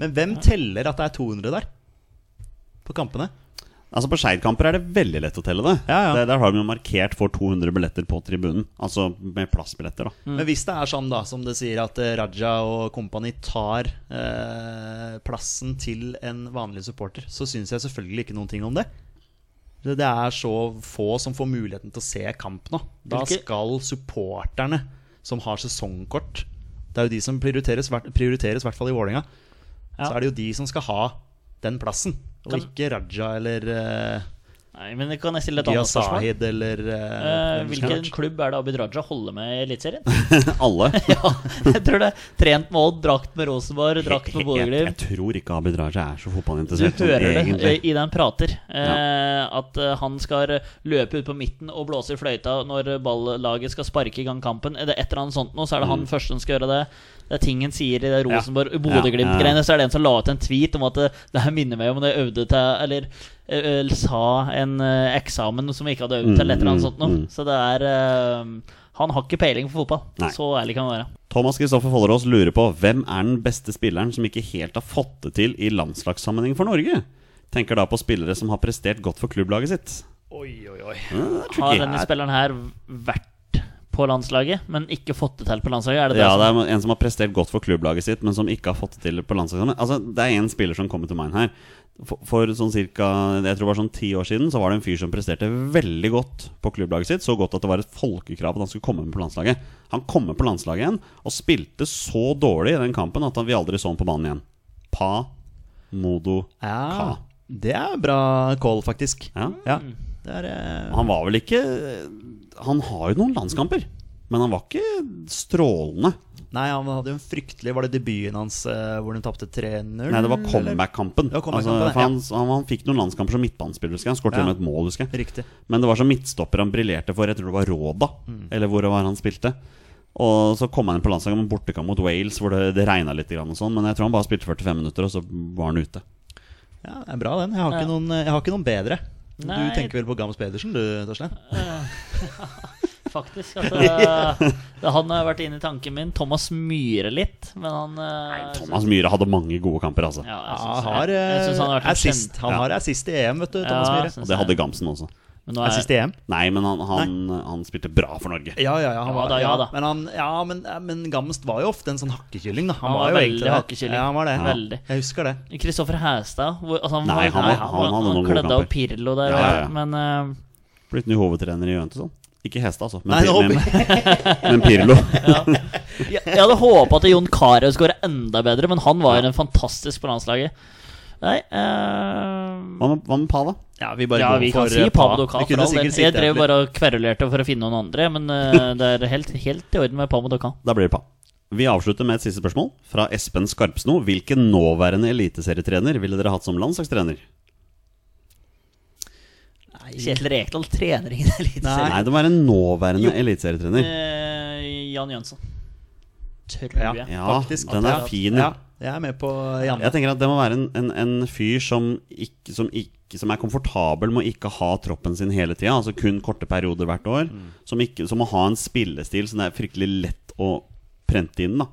Men hvem teller at det er 200 der? På kampene? Altså På Skeid-kamper er det veldig lett å telle det. Ja, ja. Der, der har de jo markert for 200 billetter på tribunen. Altså med plassbilletter, da. <laughs> Mm. Men hvis det er sånn, da, som det sier, at eh, Raja og company tar eh, plassen til en vanlig supporter, så syns jeg selvfølgelig ikke noen ting om det. Det det er så få som får muligheten til å se kamp nå. Da Hvilke- skal supporterne som har sesongkort Det er jo de som prioriteres, hvert- prioriteres i hvert fall i Vålerenga. Ja. Så er det jo de som skal ha den plassen, og Kan- ikke Raja eller eh, Nei, men kan jeg stille et annet spørsmål? Giyasahid eller eh, Eh, hvem som hvilken helst. klubb er det Abid Raja holder med i Eliteserien? <laughs> Alle. ja, jeg tror det. Trent med Odd, drakt med Rosenborg, drakt jeg, med jeg Borgerliv. tror ikke Abid Raja er så Du fotballinteressert. som hører det egentlig. eh, i den prater. Eh, At eh, han skal løpe ut på midten og blåse i fløyta når ballaget skal sparke i gang kampen. Er det et eller annet sånt nå, så er det han første som skal gjøre det. Det er ting han sier i det Mm. Ja, ja, ja. Rosenborg-Bodø-Glimt-greiene. Så er det en som la ut en tweet om at eh, det her minner meg om da jeg øvde til Eller eh, eh, sa en eh, eksamen som vi ikke hadde øvd til, eller et eller annet Mm, sånt nå. mm, mm. Så det er eh, Han har ikke peiling på fotball. Nei. Så ærlig kan han være. Thomas Kristoffer Follerås lurer på hvem er den beste spilleren som ikke helt har fått det til i landslagssammenheng for Norge? Tenker da på spillere som har prestert godt for klubblaget sitt. Oi, oi, oi. Mm, det er tricky Har denne her. spilleren her vært på landslaget, men ikke fått det til på landslaget? Er sånn. det det Ja, som- det er en som har prestert godt for klubblaget sitt, men som ikke har fått det til på landslagssammenheng. Altså, det er én spiller som kommer til mind her. For, for sånn cirka, jeg tror det var sånn ti år siden, så var det en fyr som presterte veldig godt på klubblaget sitt. Så godt at det var et folkekrav at han skulle komme med på landslaget. Han kom med på landslaget igjen, og spilte så dårlig i den kampen at han- vi aldri så han på banen igjen. Pa Modo Ka. Ja, det er bra call, faktisk. Ja. Ja. Det er eh, Han var vel ikke Han har jo noen landskamper, men han var ikke strålende. Nei, han hadde jo en fryktelig Var det debuten hans eh, hvor de tapte 3-0? Nei, det var eller? comeback-kampen. Det var altså, comeback-kampen, for han, han, han fikk noen landskamper som midtbanespiller, husker jeg. Han skåret til og Ja. med et mål, husker jeg. Riktig. Men det var som midtstopper han briljerte for. Jeg tror det var Råda, Mm. eller hvor det var han spilte. Og så kom han inn på landslaget med en bortekamp mot Wales, hvor det, det regna litt. Grann og sånn, men jeg tror han bare spilte 45 minutter, og så var han ute. Ja, det er bra, den. Jeg har, Ja. ikke, noen, jeg har ikke noen bedre. Nei. Du tenker vel på Gams Pedersen, du, Torstein? Faktisk. Altså, <laughs> han har vært inne i tanken min. Thomas Myhre litt, men han eh, Thomas Myhre hadde mange gode kamper, altså. Ja, jeg Han synes- har jeg- jeg eh, synes han har vært en assist. kjempe- Han har assist i EM, vet du, Thomas Ja, Myhre. synes Og det hadde jeg. Gamsen også. Men nå er, Assist i EM? Nei, men han, han, han spilte bra for Norge. Ja, ja, ja. Han Ja var, da, ja da. Men, han, ja, men, ja, men Gamst var jo ofte en sånn hakkekylling, da. Han var jo veldig egentlig det. hakkekylling. Ja, han var det. Veldig. Jeg husker det. Kristoffer Hæstad hvor, altså, han, Nei, var- han var- han hadde noen gode klødde av kamper. Pirlo der, Ja, ja, ja. men eh, Blitt ny hovedtrener i Jønte, sånn. Ikke Hestad, altså. Men, Nei, nå men, <laughs> men Pirlo. jeg, jeg hadde håpa at Jon Carew skulle være enda bedre, men han var jo en fantastisk på landslaget. Nei eh, Hva med, hva med Pa, da? Ja, vi bare Ja, går vi kan for si eh, Pablo Pa. Ka. Vi For kunne all del. sikkert Jeg sitte drev etter- bare og kverulerte for å finne noen andre, men eh, det er helt, helt i orden med Pablo Ka. Da blir det pa. Vi avslutter med et siste spørsmål fra Espen Skarpsno. Hvilken nåværende eliteserietrener ville dere hatt som landslagstrener? Kjetil Rekdal trener ingen Nei, eliteserie. det må være en nåværende eliteserietrener. Eh, Jan Jønsson. Tror Ja. jeg. Ja, Faktisk. den er fin, Ja, ja. jeg er med på Janne. Jeg tenker at det må være en, en, en fyr som, ikke, som, ikke, som er komfortabel med å ikke ha troppen sin hele tida, altså kun korte perioder hvert år. Som, ikke, som må ha en spillestil som det er fryktelig lett å prente inn. da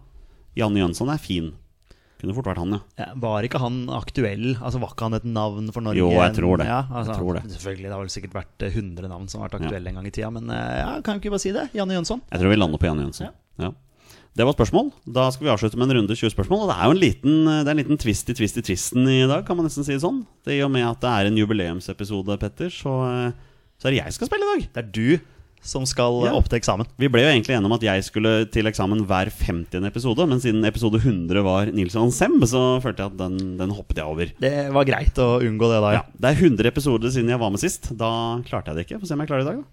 Janne Jønsson er fin. Kunne fort vært han, ja. Ja, Var ikke han aktuell? Altså Var ikke han et navn for Norge? Jo, jeg tror det. Ja, altså, Jeg tror det. Selvfølgelig, det har vel sikkert vært eh, 100 navn som har vært aktuelle en gang i tida, men eh, ja, kan vi ikke bare si det? Janne Jønsson. Jeg tror vi lander på Janne Jønsson. Ja. Det var spørsmål. Da skal vi avslutte med en runde 20 spørsmål. Og det er jo en liten, eh, det er en liten twist i twist i twisten i dag, kan man nesten si det sånn. Det I og med at det er en jubileumsepisode, Petter, så, eh, så er det jeg som skal spille i dag. Det er du som skal eh, Ja. opp til eksamen. Vi ble jo egentlig enige om at jeg skulle til eksamen hver 50. episode, men siden episode 100 var Nilsson Sem, så følte jeg at den, den hoppet jeg over. Det var greit å unngå det da. Ja, Det er 100 episoder siden jeg var med sist. Da klarte jeg det ikke. Få se om jeg klarer det i dag, da.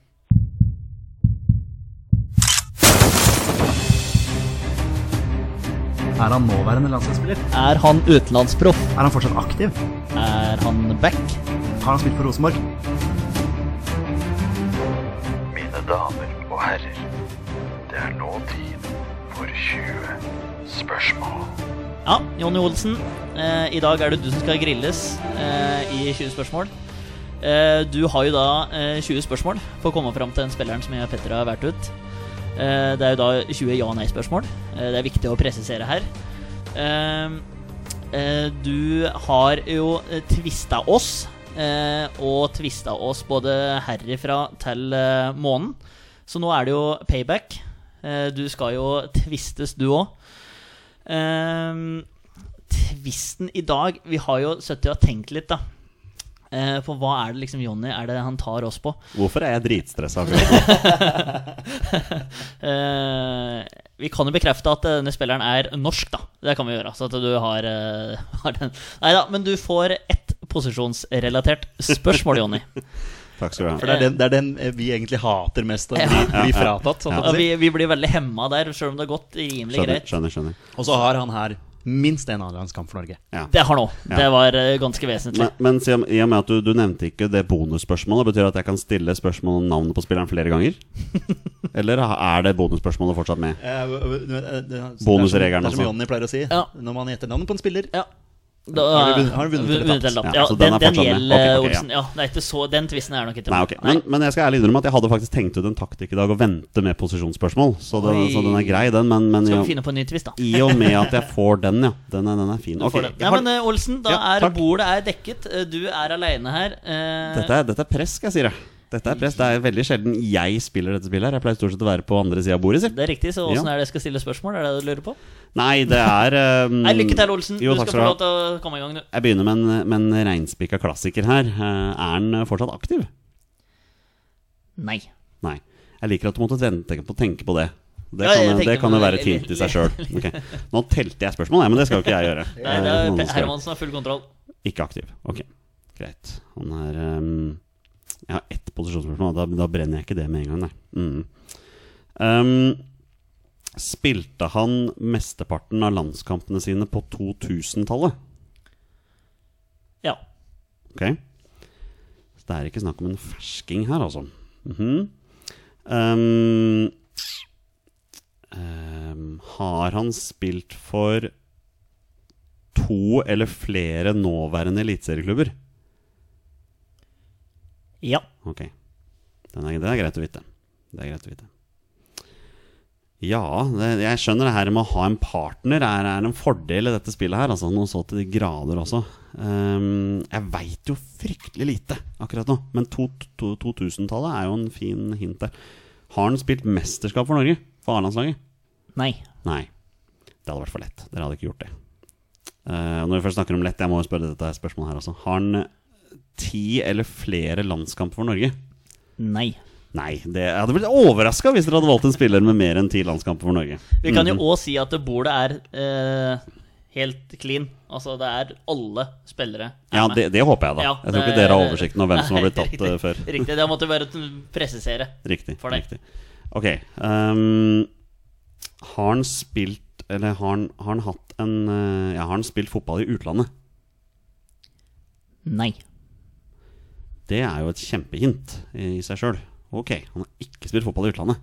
Er han nåværende landslagsspiller? Er han utenlandsproff? Er han fortsatt aktiv? Er han back? Har han spilt for Rosenborg? Mine damer og herrer, det er nå tid for 20 spørsmål. Ja, Jonny Olsen. Eh, I dag er det du som skal grilles eh, i 20 spørsmål. Eh, du har jo da eh, 20 spørsmål for å komme fram til den spilleren som jeg og Petter har vært ut. Eh, det er jo da 20 ja- og nei-spørsmål. Eh, det er viktig å presisere her. Eh, eh, du har jo eh, tvista oss, eh, og tvista oss både herifra til eh, månen. Så nå er det jo payback. Eh, du skal jo tvistes, du òg. Ehm, Tvisten i dag Vi har jo sittet og tenkt litt, da. Eh, For hva er det liksom Jonny er det han tar oss på? Hvorfor er jeg dritstressa? akkurat nå? Eh, vi kan jo bekrefte at eh, denne spilleren er norsk, da. Det kan vi gjøre. Så at du har, eh, <laughs> har den Nei da, men du får ett posisjonsrelatert spørsmål, <laughs> Jonny. Takk skal du ha. For det er den, det er den eh, vi egentlig hater mest og blir, blir fratatt. Sånn Ja, å si. vi, vi blir veldig hemma der, sjøl om det har gått rimelig Skjønner, greit. skjønner. skjønner. Og så har han her minst én A-landskamp for Norge. Ja. Det har nå. Ja. Det var eh, ganske vesentlig. Men, men si om- i og med at du, du nevnte ikke det bonusspørsmålet, betyr det at jeg kan stille spørsmål om navnet på spilleren flere <laughs> ganger? Eller er det bonusspørsmålet fortsatt med? Eh, v- v- det er som- Bonusregelen Det er som også. Jonny pleier å si. Ja. Når man gjetter navnet på en spiller, Ja. Da, Har de vunnet- har de vunnet eller tapt? eller tapt? Ja, Ja, så den den, er den fortsatt med. gjelder Ok, ok, ja. Olsen. Ja, det er ikke så, den tvisten er nok ikke Nei, med. ok men, men jeg skal ærlig innrømme at jeg hadde faktisk tenkt ut en taktikk i dag og vente med posisjonsspørsmål. Så, det, Oi. så den er grei, den. Men, men Skal jo, vi finne på en ny twist, da? i og med at jeg får den, ja. Den er, den er fin. Ok, For det. jeg Nei, har, men eh, Olsen, da Ja, er takk. bordet er dekket. Eh, Du er aleine her. Eh, dette, er, dette er press, skal jeg si det. Dette er press. Det er veldig sjelden jeg spiller dette spillet her. Jeg pleier stort sett å være på andre sida av bordet. Si. Det er riktig, så Ja. åssen er det jeg skal stille spørsmål? Er det det du lurer på? Nei, det er um, Nei, lykke til, Olsen. Jo, du takk skal få skal lov du ha. til å komme i gang, du. Jeg begynner med en, med en reinspikka klassiker her. Eh, Er den fortsatt aktiv? Nei. Nei. Jeg liker at du måtte vente på å tenke på det. Det Ja, kan, jeg tenkte det kan på jo være det. et hint i seg <laughs> sjøl. Nå telte jeg spørsmål, jeg, men det skal jo ikke jeg gjøre. Det er, det Eh, er noen Per skal- Hermansen har full kontroll. Ikke aktiv. Ok, greit. Han er ehm, Jeg har ett posisjonsspørsmål, da, da brenner jeg ikke det med en gang, nei. Mm. Ehm, spilte han mesteparten av landskampene sine på 2000-tallet? Ja. Ok. Så det er ikke snakk om en fersking her, altså. Mhm. Ehm, ehm, har han spilt for to eller flere nåværende eliteserieklubber? Ja. Ok. Den er, det er greit å vite. Det er greit å vite. Ja, det, jeg skjønner det her med å ha en partner er, er en fordel i dette spillet her. Altså noe så til de grader også. Ehm, jeg veit jo fryktelig lite akkurat nå, men to- to- 2000-tallet er jo en fin hint der. Har han spilt mesterskap for Norge? For A-landslaget? Nei. Nei. Det hadde vært for lett. Dere hadde ikke gjort det. Eh, og når vi først snakker om lett, jeg må jo spørre dette spørsmålet her også. Har han eh, ti eller flere landskamper for Norge? Nei. Nei, det, jeg hadde blitt overraska hvis dere hadde valgt en spiller med mer enn ti landskamper for Norge. Vi kan jo òg si at det bordet er eh, helt clean. Altså, det er alle spillere. er Mm. Ja, med. det, det håper jeg, da. Ja, jeg tror ikke det- dere har oversikten over hvem som har blitt Nei, tatt eh, før. <laughs> Riktig. riktig, det måtte jeg bare presisere. Riktig. For deg. riktig. Ok. ehm, har han spilt Eller har han, har han hatt en eh, Ja, har han spilt fotball i utlandet? Nei. Det er jo et kjempehint i i seg sjøl. Ok, han har ikke spilt fotball i utlandet.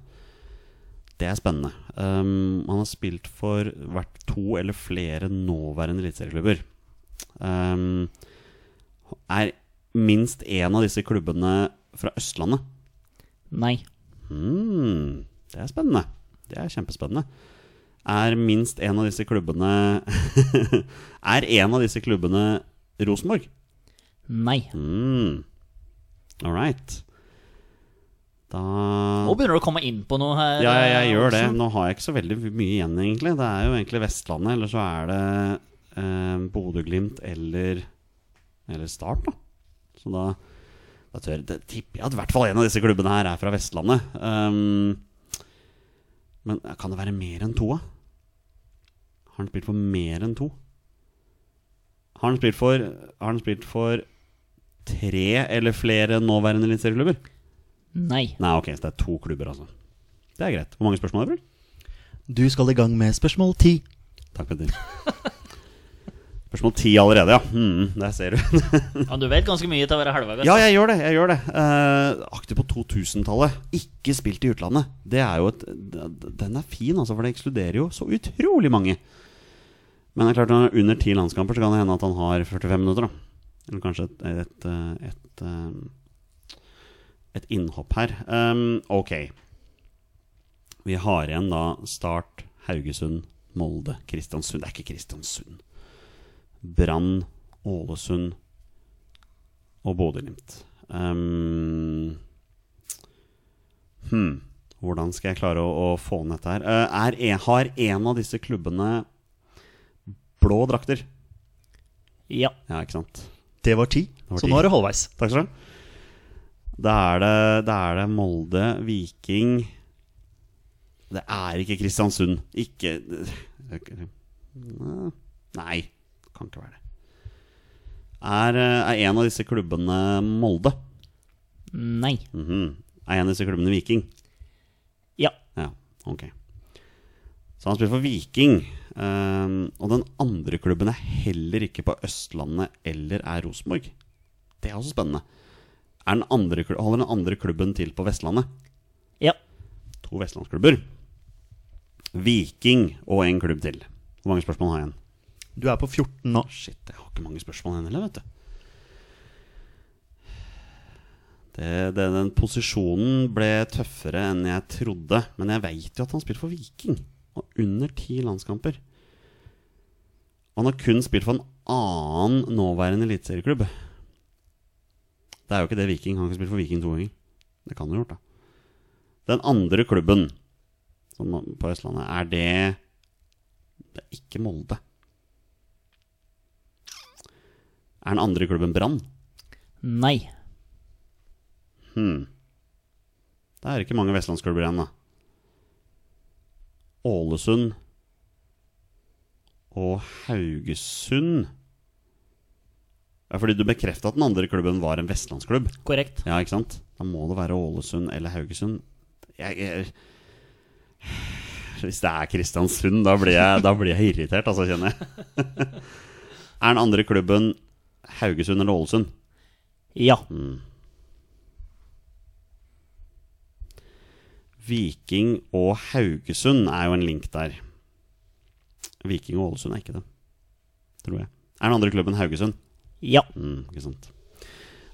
Det er spennende. Ehm, han har spilt for hvert to eller flere nåværende eliteserieklubber. Ehm, er minst én av disse klubbene fra Østlandet? Nei. Hmm, det er spennende. Det er kjempespennende. Er minst én av disse klubbene <laughs> Er en av disse klubbene Rosenborg? Nei. Mm. All right. Da Nå begynner du å komme inn på noe her. Ja, jeg, jeg gjør det. Olsen. Nå har jeg ikke så veldig mye igjen, egentlig. Det er jo egentlig Vestlandet, eller så er det eh, Bodø-Glimt eller, eller Start, da. Så da, da tør, det tipper jeg at i hvert fall en av disse klubbene her er fra Vestlandet. Ehm, men kan det være mer enn to, da? Har han spilt for mer enn to? Har han spilt for, har han spilt for tre eller flere nåværende eliteserieklubber? Nei. Nei, ok, så det er to klubber, altså. Det er greit. Hvor mange spørsmål er det? Du skal i gang med spørsmål ti. Takk, Petter. Spørsmål ti allerede, ja. Mm, der ser du. Ja, du vet ganske mye til å være halvveis. ja, jeg gjør det. jeg gjør det Eh, Aktiv på 2000-tallet. Ikke spilt i utlandet. Det er jo et d- Den er fin, altså, for det ekskluderer jo så utrolig mange. Men det er klart når han er under ti landskamper, så kan det hende at han har 45 minutter. da Eller kanskje et, et, eh, et, eh, et innhopp her. Um, ok. Vi har igjen da Start, Haugesund, Molde, Kristiansund. Det er ikke Kristiansund. Brann, Ålesund og Bodø-Glimt. Ehm, hmm. Hvordan skal jeg klare å, å få ned dette her? Eh, er, en- har en av disse klubbene blå drakter? Ja. Ja, ikke sant? Det var ti, var så ti. nå er det halvveis. Takk skal du ha. Da er det, da er det Molde, Viking Det er ikke Kristiansund. Ikke Nei, det kan ikke være det. Er, eh, er en av disse klubbene Molde? Nei. Mhm. Er en av disse klubbene Viking? Ja. Ja, ok. Så han spiller for Viking. ehm, og den andre klubben er heller ikke på Østlandet eller er Rosenborg. Det er også spennende. Er den andre, klu- holder den andre klubben til på Vestlandet? Ja. To vestlandsklubber. Viking og en klubb til. Hvor mange spørsmål har jeg igjen? Du er på 14 nå. Shit, jeg har ikke mange spørsmål igjen heller, vet du. Det, det, den posisjonen ble tøffere enn jeg trodde, men jeg veit jo at han spilte for Viking. Og under ti landskamper. Han har kun spilt for en annen nåværende eliteserieklubb. Det er jo ikke det Viking. Han har ikke spilt for Viking to ganger. Det kan han ha gjort, da. Den andre klubben som på Østlandet, er det Det er ikke Molde. Er den andre klubben Brann? Nei. Det er ikke mange vestlandsklubber igjen, da. Ålesund og Haugesund Ja, fordi du bekrefta at den andre klubben var en vestlandsklubb. Korrekt. Ja, ikke sant? Da må det være Ålesund eller Haugesund. Jeg, jeg Hvis det er Kristiansund, da blir jeg, da blir jeg irritert, altså, kjenner jeg. <laughs> er den andre klubben Haugesund eller Ålesund? Ja. Mm. Viking og Haugesund er jo en link der. Viking og Ålesund er ikke det, tror jeg. Er den andre klubben Haugesund? Ja. Mm, ikke sant.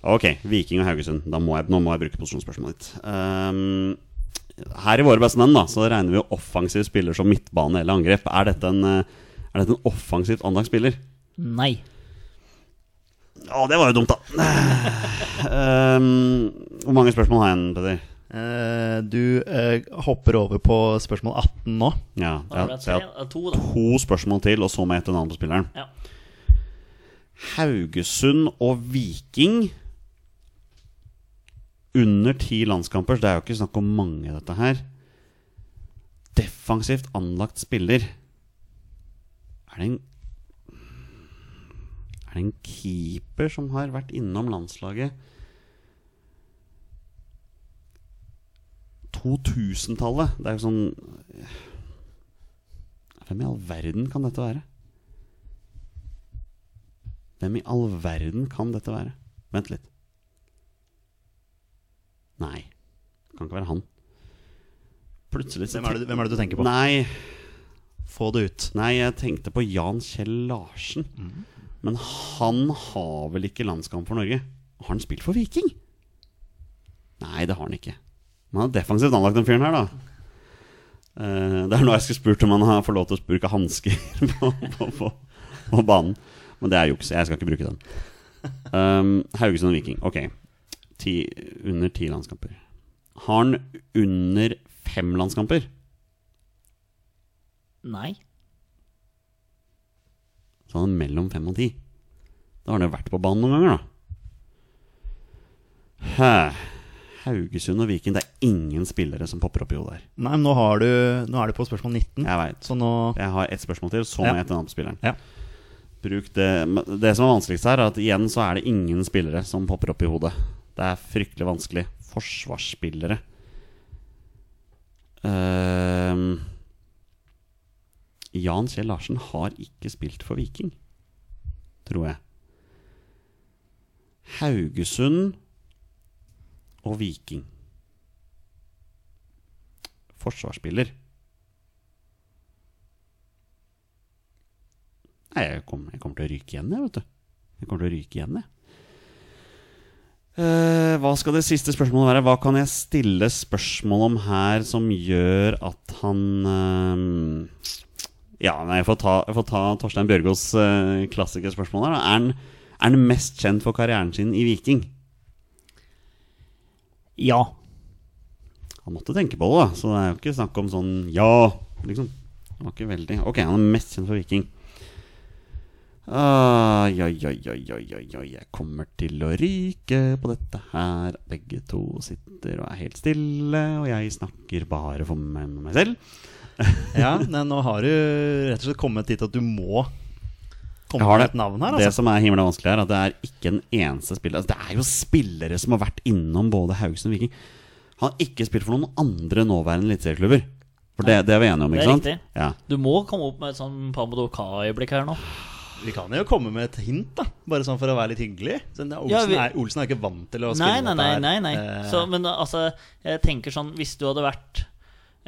Ok, Viking og Haugesund. Da må jeg, nå må jeg bruke posisjonsspørsmålet ditt. Ehm, her i våre beste menn da, så regner vi jo offensiv spiller som midtbane eller angrep. Er dette en, eh, er dette en offensivt anlagt spiller? Nei. Å, det var jo dumt, da. <laughs> Ehm, hvor mange spørsmål har jeg igjen, Petter? Eh, du eh, hopper over på spørsmål 18 nå. Ja, Da jeg, ble det jeg tre, har da to, da. to spørsmål til, og så må jeg gjette navnet på spilleren. Ja. Haugesund og Viking under ti landskamper. så Det er jo ikke snakk om mange, dette her. Defensivt anlagt spiller. Er det en Er det en keeper som har vært innom landslaget 2000-tallet? Det er jo sånn Hvem i all verden kan dette være? Hvem i all verden kan dette være? Vent litt. Nei. Det kan ikke være han. Plutselig så Hvem er det, du- hvem er det du tenker på? Nei, Få det ut. nei, jeg tenkte på Jan Kjell Larsen. Mm. Men han har vel ikke landskamp for Norge? Har han spilt for Viking? Nei, det har han ikke. Men han er defensivt anlagt, den fyren her, da. Eh, det er nå jeg skulle spurt om han har får lov til å bruke hansker <laughs> på, på, på, på banen. Men det er juks. Jeg skal ikke bruke den. Um, Haugesund og Viking. Ok. Ti, under ti landskamper. Har han under fem landskamper? Nei. Så han er mellom fem og ti. Da har han jo vært på banen noen ganger, da. Hæ. Haugesund og Viking. Det er ingen spillere som popper opp i hodet her. Nei, men nå, har du, nå er du på spørsmål 19. Jeg veit. Så nå <laughs> Jeg har ett spørsmål til, så må Ja. jeg hete navn på spilleren. Ja. Bruk det. men det som er vanskeligst her, er at igjen så er det ingen spillere som popper opp i hodet. Det er fryktelig vanskelig. Forsvarsspillere. Ehm, Jan Kjell Larsen har ikke spilt for Viking, tror jeg. Haugesund og Viking. Forsvarsspiller. Nei, jeg kommer, jeg kommer til å ryke igjen, jeg, vet du. Jeg kommer til å ryke igjen, jeg. Eh, hva skal det siste spørsmålet være? Hva kan jeg stille spørsmål om her som gjør at han eh, Ja, nei, jeg får ta, jeg får ta Torstein Bjørgaas eh, klassikerspørsmål her. Da. Er, han, er han mest kjent for karrieren sin i Viking? Ja. Han måtte tenke på det, da. Så det er jo ikke snakk om sånn ja, liksom. Det var ikke veldig Ok, han er mest kjent for Viking. Ai, ai, ai, ai, ai, ai, ai, jeg kommer til å ryke på dette her. Begge to sitter og er helt stille, og jeg snakker bare for meg, med meg selv. Ja, nei, nå har du rett og slett kommet dit at du må Jeg komme har med det. et navn her, Det altså. som er himla vanskelig her, er at det er ikke en eneste spiller altså, Det er jo spillere som har vært innom både Haugesund og Viking. Han har ikke spilt for noen andre nåværende eliteserieklubber. For det, det er vi enige om, det er ikke sant? riktig. Ja. Du må komme opp med et sånn Pamodoka-øyeblikk her nå. Vi kan jo komme med et hint, da. Bare sånn for å være litt hyggelig. Så, nei, Olsen, Ja, vi- er, Olsen er ikke vant til å Nei, spille nei, nei. dette nei, her. nei. Eh, Så, men altså, jeg tenker sånn Hvis du hadde vært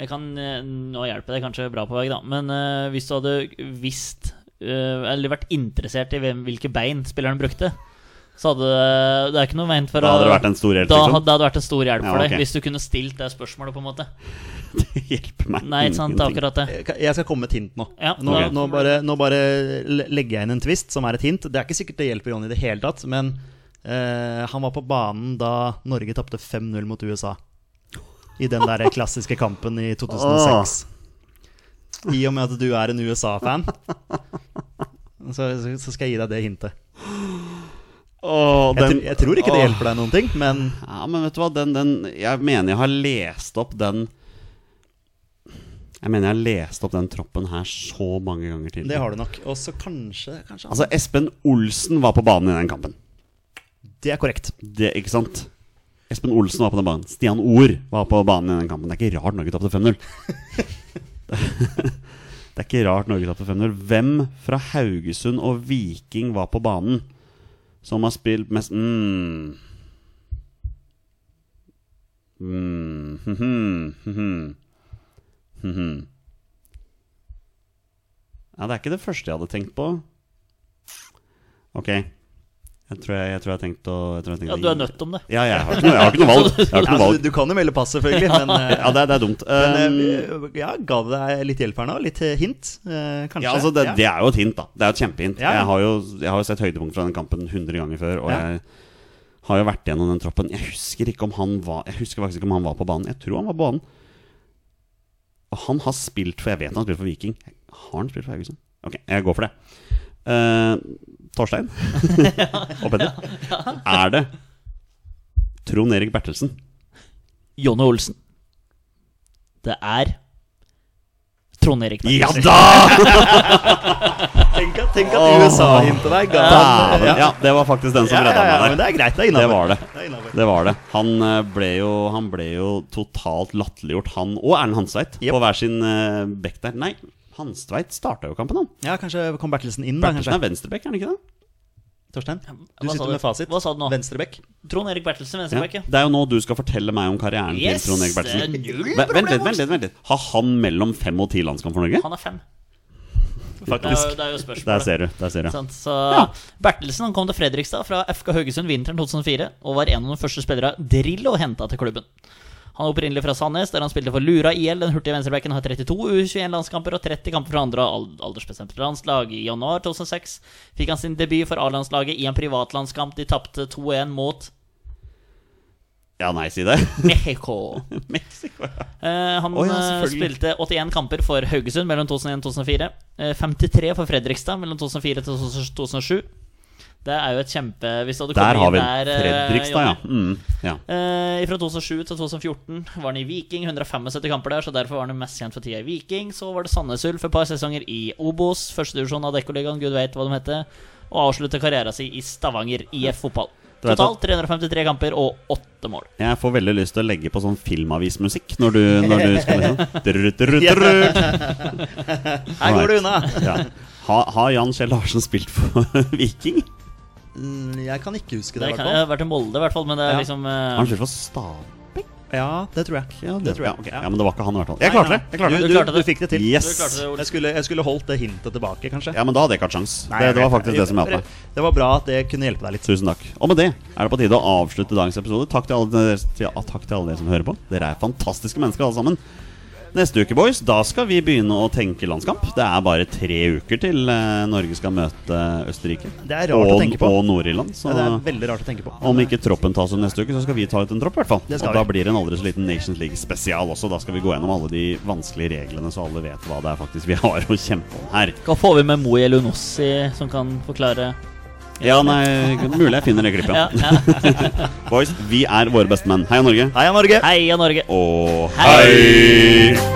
jeg kan, eh, Nå hjelper det kanskje bra på vei, da. Men eh, hvis du hadde visst øh, Eller vært interessert i hvem, hvilke bein spilleren brukte, så hadde eh, det Det er ikke noe veien for Da hadde det å- vært en stor hjelp, Da liksom. <laughs> hadde det hadde vært en stor Ja, hjelp ok. for deg, hvis du kunne stilt det spørsmålet, på en måte. Det hjelper meg Nei, ikke sant, det ingenting. er akkurat det. Jeg kan- Jeg skal komme med et hint nå. Ja, nå, ok. nå, bare, nå bare le- legger jeg inn en twist som er et hint. Det er ikke sikkert det hjelper Johnny i det hele tatt, men eh, han var på banen da Norge tapte 5-0 mot USA. I den der klassiske kampen i 2006. I og med at du er en USA-fan, så, så- så skal jeg gi deg det hintet. Åh, Jeg, den- tr- jeg tror ikke det åh. hjelper deg noen ting, men Ja, men vet du hva, den, den Jeg mener jeg har lest opp den Jeg mener jeg har lest opp den troppen her så mange ganger tidligere. det har du nok. Og så kanskje, kanskje Altså, Espen Olsen var på banen i den kampen. Det er korrekt. Det, ikke sant? Espen Olsen var på den banen. Stian Ord var på banen i den kampen. Det er ikke rart Norge tapte 5-0. det er ikke rart Norge tapte 5-0. Hvem fra Haugesund og Viking var på banen som har spilt mest mm. <laughs> Mm. mhm, mhm, mhm. Ja, det er ikke det første jeg hadde tenkt på. Ok. Jeg tror jeg, jeg tror jeg har tenkt å jeg tror jeg har tenkt Ja, å du er gi- nødt om det. ja, jeg har ikke noe, jeg har ikke noe valg. Jeg har ikke Ja, noe så du, valg. du kan jo melde pass, selvfølgelig, men eh, <laughs> Ja, det, er- det er dumt. Men Um, eh, ja, ga det deg litt hjelp her nå? Litt eh, hint, eh, kanskje? ja, altså det, Ja. det er jo et hint, da. Det er jo et kjempehint. Ja. Jeg, har jo, jeg har jo sett høydepunkt fra den kampen 100 ganger før, og Ja. jeg har jo vært gjennom den troppen. Jeg husker ikke om han var Jeg husker faktisk ikke om han var på banen. Jeg tror han var på banen. Og han har spilt for Jeg vet han har spilt for Viking. Har han spilt for Haugesund? Ok, jeg går for det. Eh, <laughs> Torstein og Petter. Er det Trond Erik Bertelsen? Jonny Olsen. Det er Trond Erik Ja Bertelsen. da! Tenk at, tenk at USA-hintet der ga Ja, Sånn deg men, Ah, ja, det var faktisk den som ja, ja, redda ja, meg der. men det er greit, det er Det innafor. var det. er innenfor. Det var det. Han eh, ble jo, han ble jo totalt latterliggjort, han og Erlend Hanstveit, Jep. på hver sin eh, bekk der. Nei, Hanstveit starta jo kampen, han. Ja, kanskje kom Bertelsen inn, da? Bertelsen kanskje er venstrebekk, er han ikke det? Torstein, du Hva sa sitter med fasit. Hva sa du nå? Venstrebekk. Trond Erik Bertelsen, Ja. venstreback, ja. Det er jo nå du skal fortelle meg om karrieren Yes, til Trond Erik Bertelsen. det er null Vent- Vent litt, vent litt, vent litt. Har han mellom fem og ti landskamp for Norge? Han er fem. Det er jo, Faktisk. det er jo spørsmålet. Der ser du. Der ser du. Sant? Så Bertelsen han kom til Fredrikstad fra FK Haugesund vinteren 2004 og var en av de første spillere Drillo henta til klubben. Han er opprinnelig fra Sandnes, der han spilte for Lura IL. Den hurtige venstrebacken har 32 U21-landskamper og 30 kamper fra andre al- aldersbestemte landslag. I januar 2006 fikk han sin debut for A-landslaget i en privatlandskamp. De tapte 2-1 mot Ja, nei, si det. Mexico. Mexico, ja. Eh, han Å ja, eh, selvfølgelig. spilte 81 kamper for Haugesund mellom 2001 og 2004. eh, 53 for Fredrikstad mellom 2004 til 2007. Det er jo et kjempe Hvis du hadde <laughs> Der har vi kommet inn den. der eh, Fredrikstad, ja. Jonny. Mm, ja. Eh, fra 2007 til 2014 var han i Viking, 175 kamper der, så derfor var han mest kjent for tida i Viking. Så var det Sandnes Ulf et par sesonger i Obos, førstedivisjon av Dekkollegaen, gud veit hva de heter, og avslutta karrieren sin i Stavanger IF fotball. Du vet Totalt 353 kamper og åtte mål. Jeg får veldig lyst til å legge på sånn filmavismusikk når du, når du spiller sånn. <laughs> Drrrr, drrrr, drrrr. Her går det unna! <laughs> Ja. Har har Jan Kjell Larsen spilt for <laughs> Viking? Mm, <laughs> Jeg kan ikke huske Det det. i kan hvert ha fall. vært i Molde, i hvert fall, men det er Ja. liksom Har eh, han spilt for Stabæk? Ja, det tror jeg. Ja, Det tror jeg. Ja, ok. ja, men det var ikke han i hvert fall. Jeg Nei, klarte nei. det! jeg klarte Du, det Du du, klarte du det. fikk det til. Yes! Du klarte det, Ole. Jeg skulle, jeg skulle holdt det hintet tilbake, kanskje. Ja, men da hadde jeg ikke hatt sjans. Nei, Det, jeg det var vet faktisk det som hjalp meg. Det var bra at det kunne hjelpe deg litt. Tusen takk. Og med det er det på tide å avslutte dagens episode. Takk til alle dere, til, ja, takk til alle dere som hører på. Dere er fantastiske mennesker alle sammen. Neste uke, boys, da skal vi begynne å tenke landskamp. Det er bare tre uker til eh, Norge skal møte Østerrike. Det er rart og, å tenke på. Og Nord-Irland. Så Ja, Det er veldig rart å tenke på. om ikke troppen tas ut neste uke, så skal vi ta ut en tropp, i hvert fall. Det Og skal da vi. blir det en aldri så liten Nations League spesial også. Da skal vi gå gjennom alle de vanskelige reglene, så alle vet hva det er faktisk vi <laughs> har å kjempe om her. Hva får vi med Moe Elunossi som kan forklare Ja, nei, mulig jeg finner det klippet. Ja, ja. <laughs> Boys, vi er våre beste menn. Heia Norge. Heia Norge! Heia Norge! Og Hei! hei!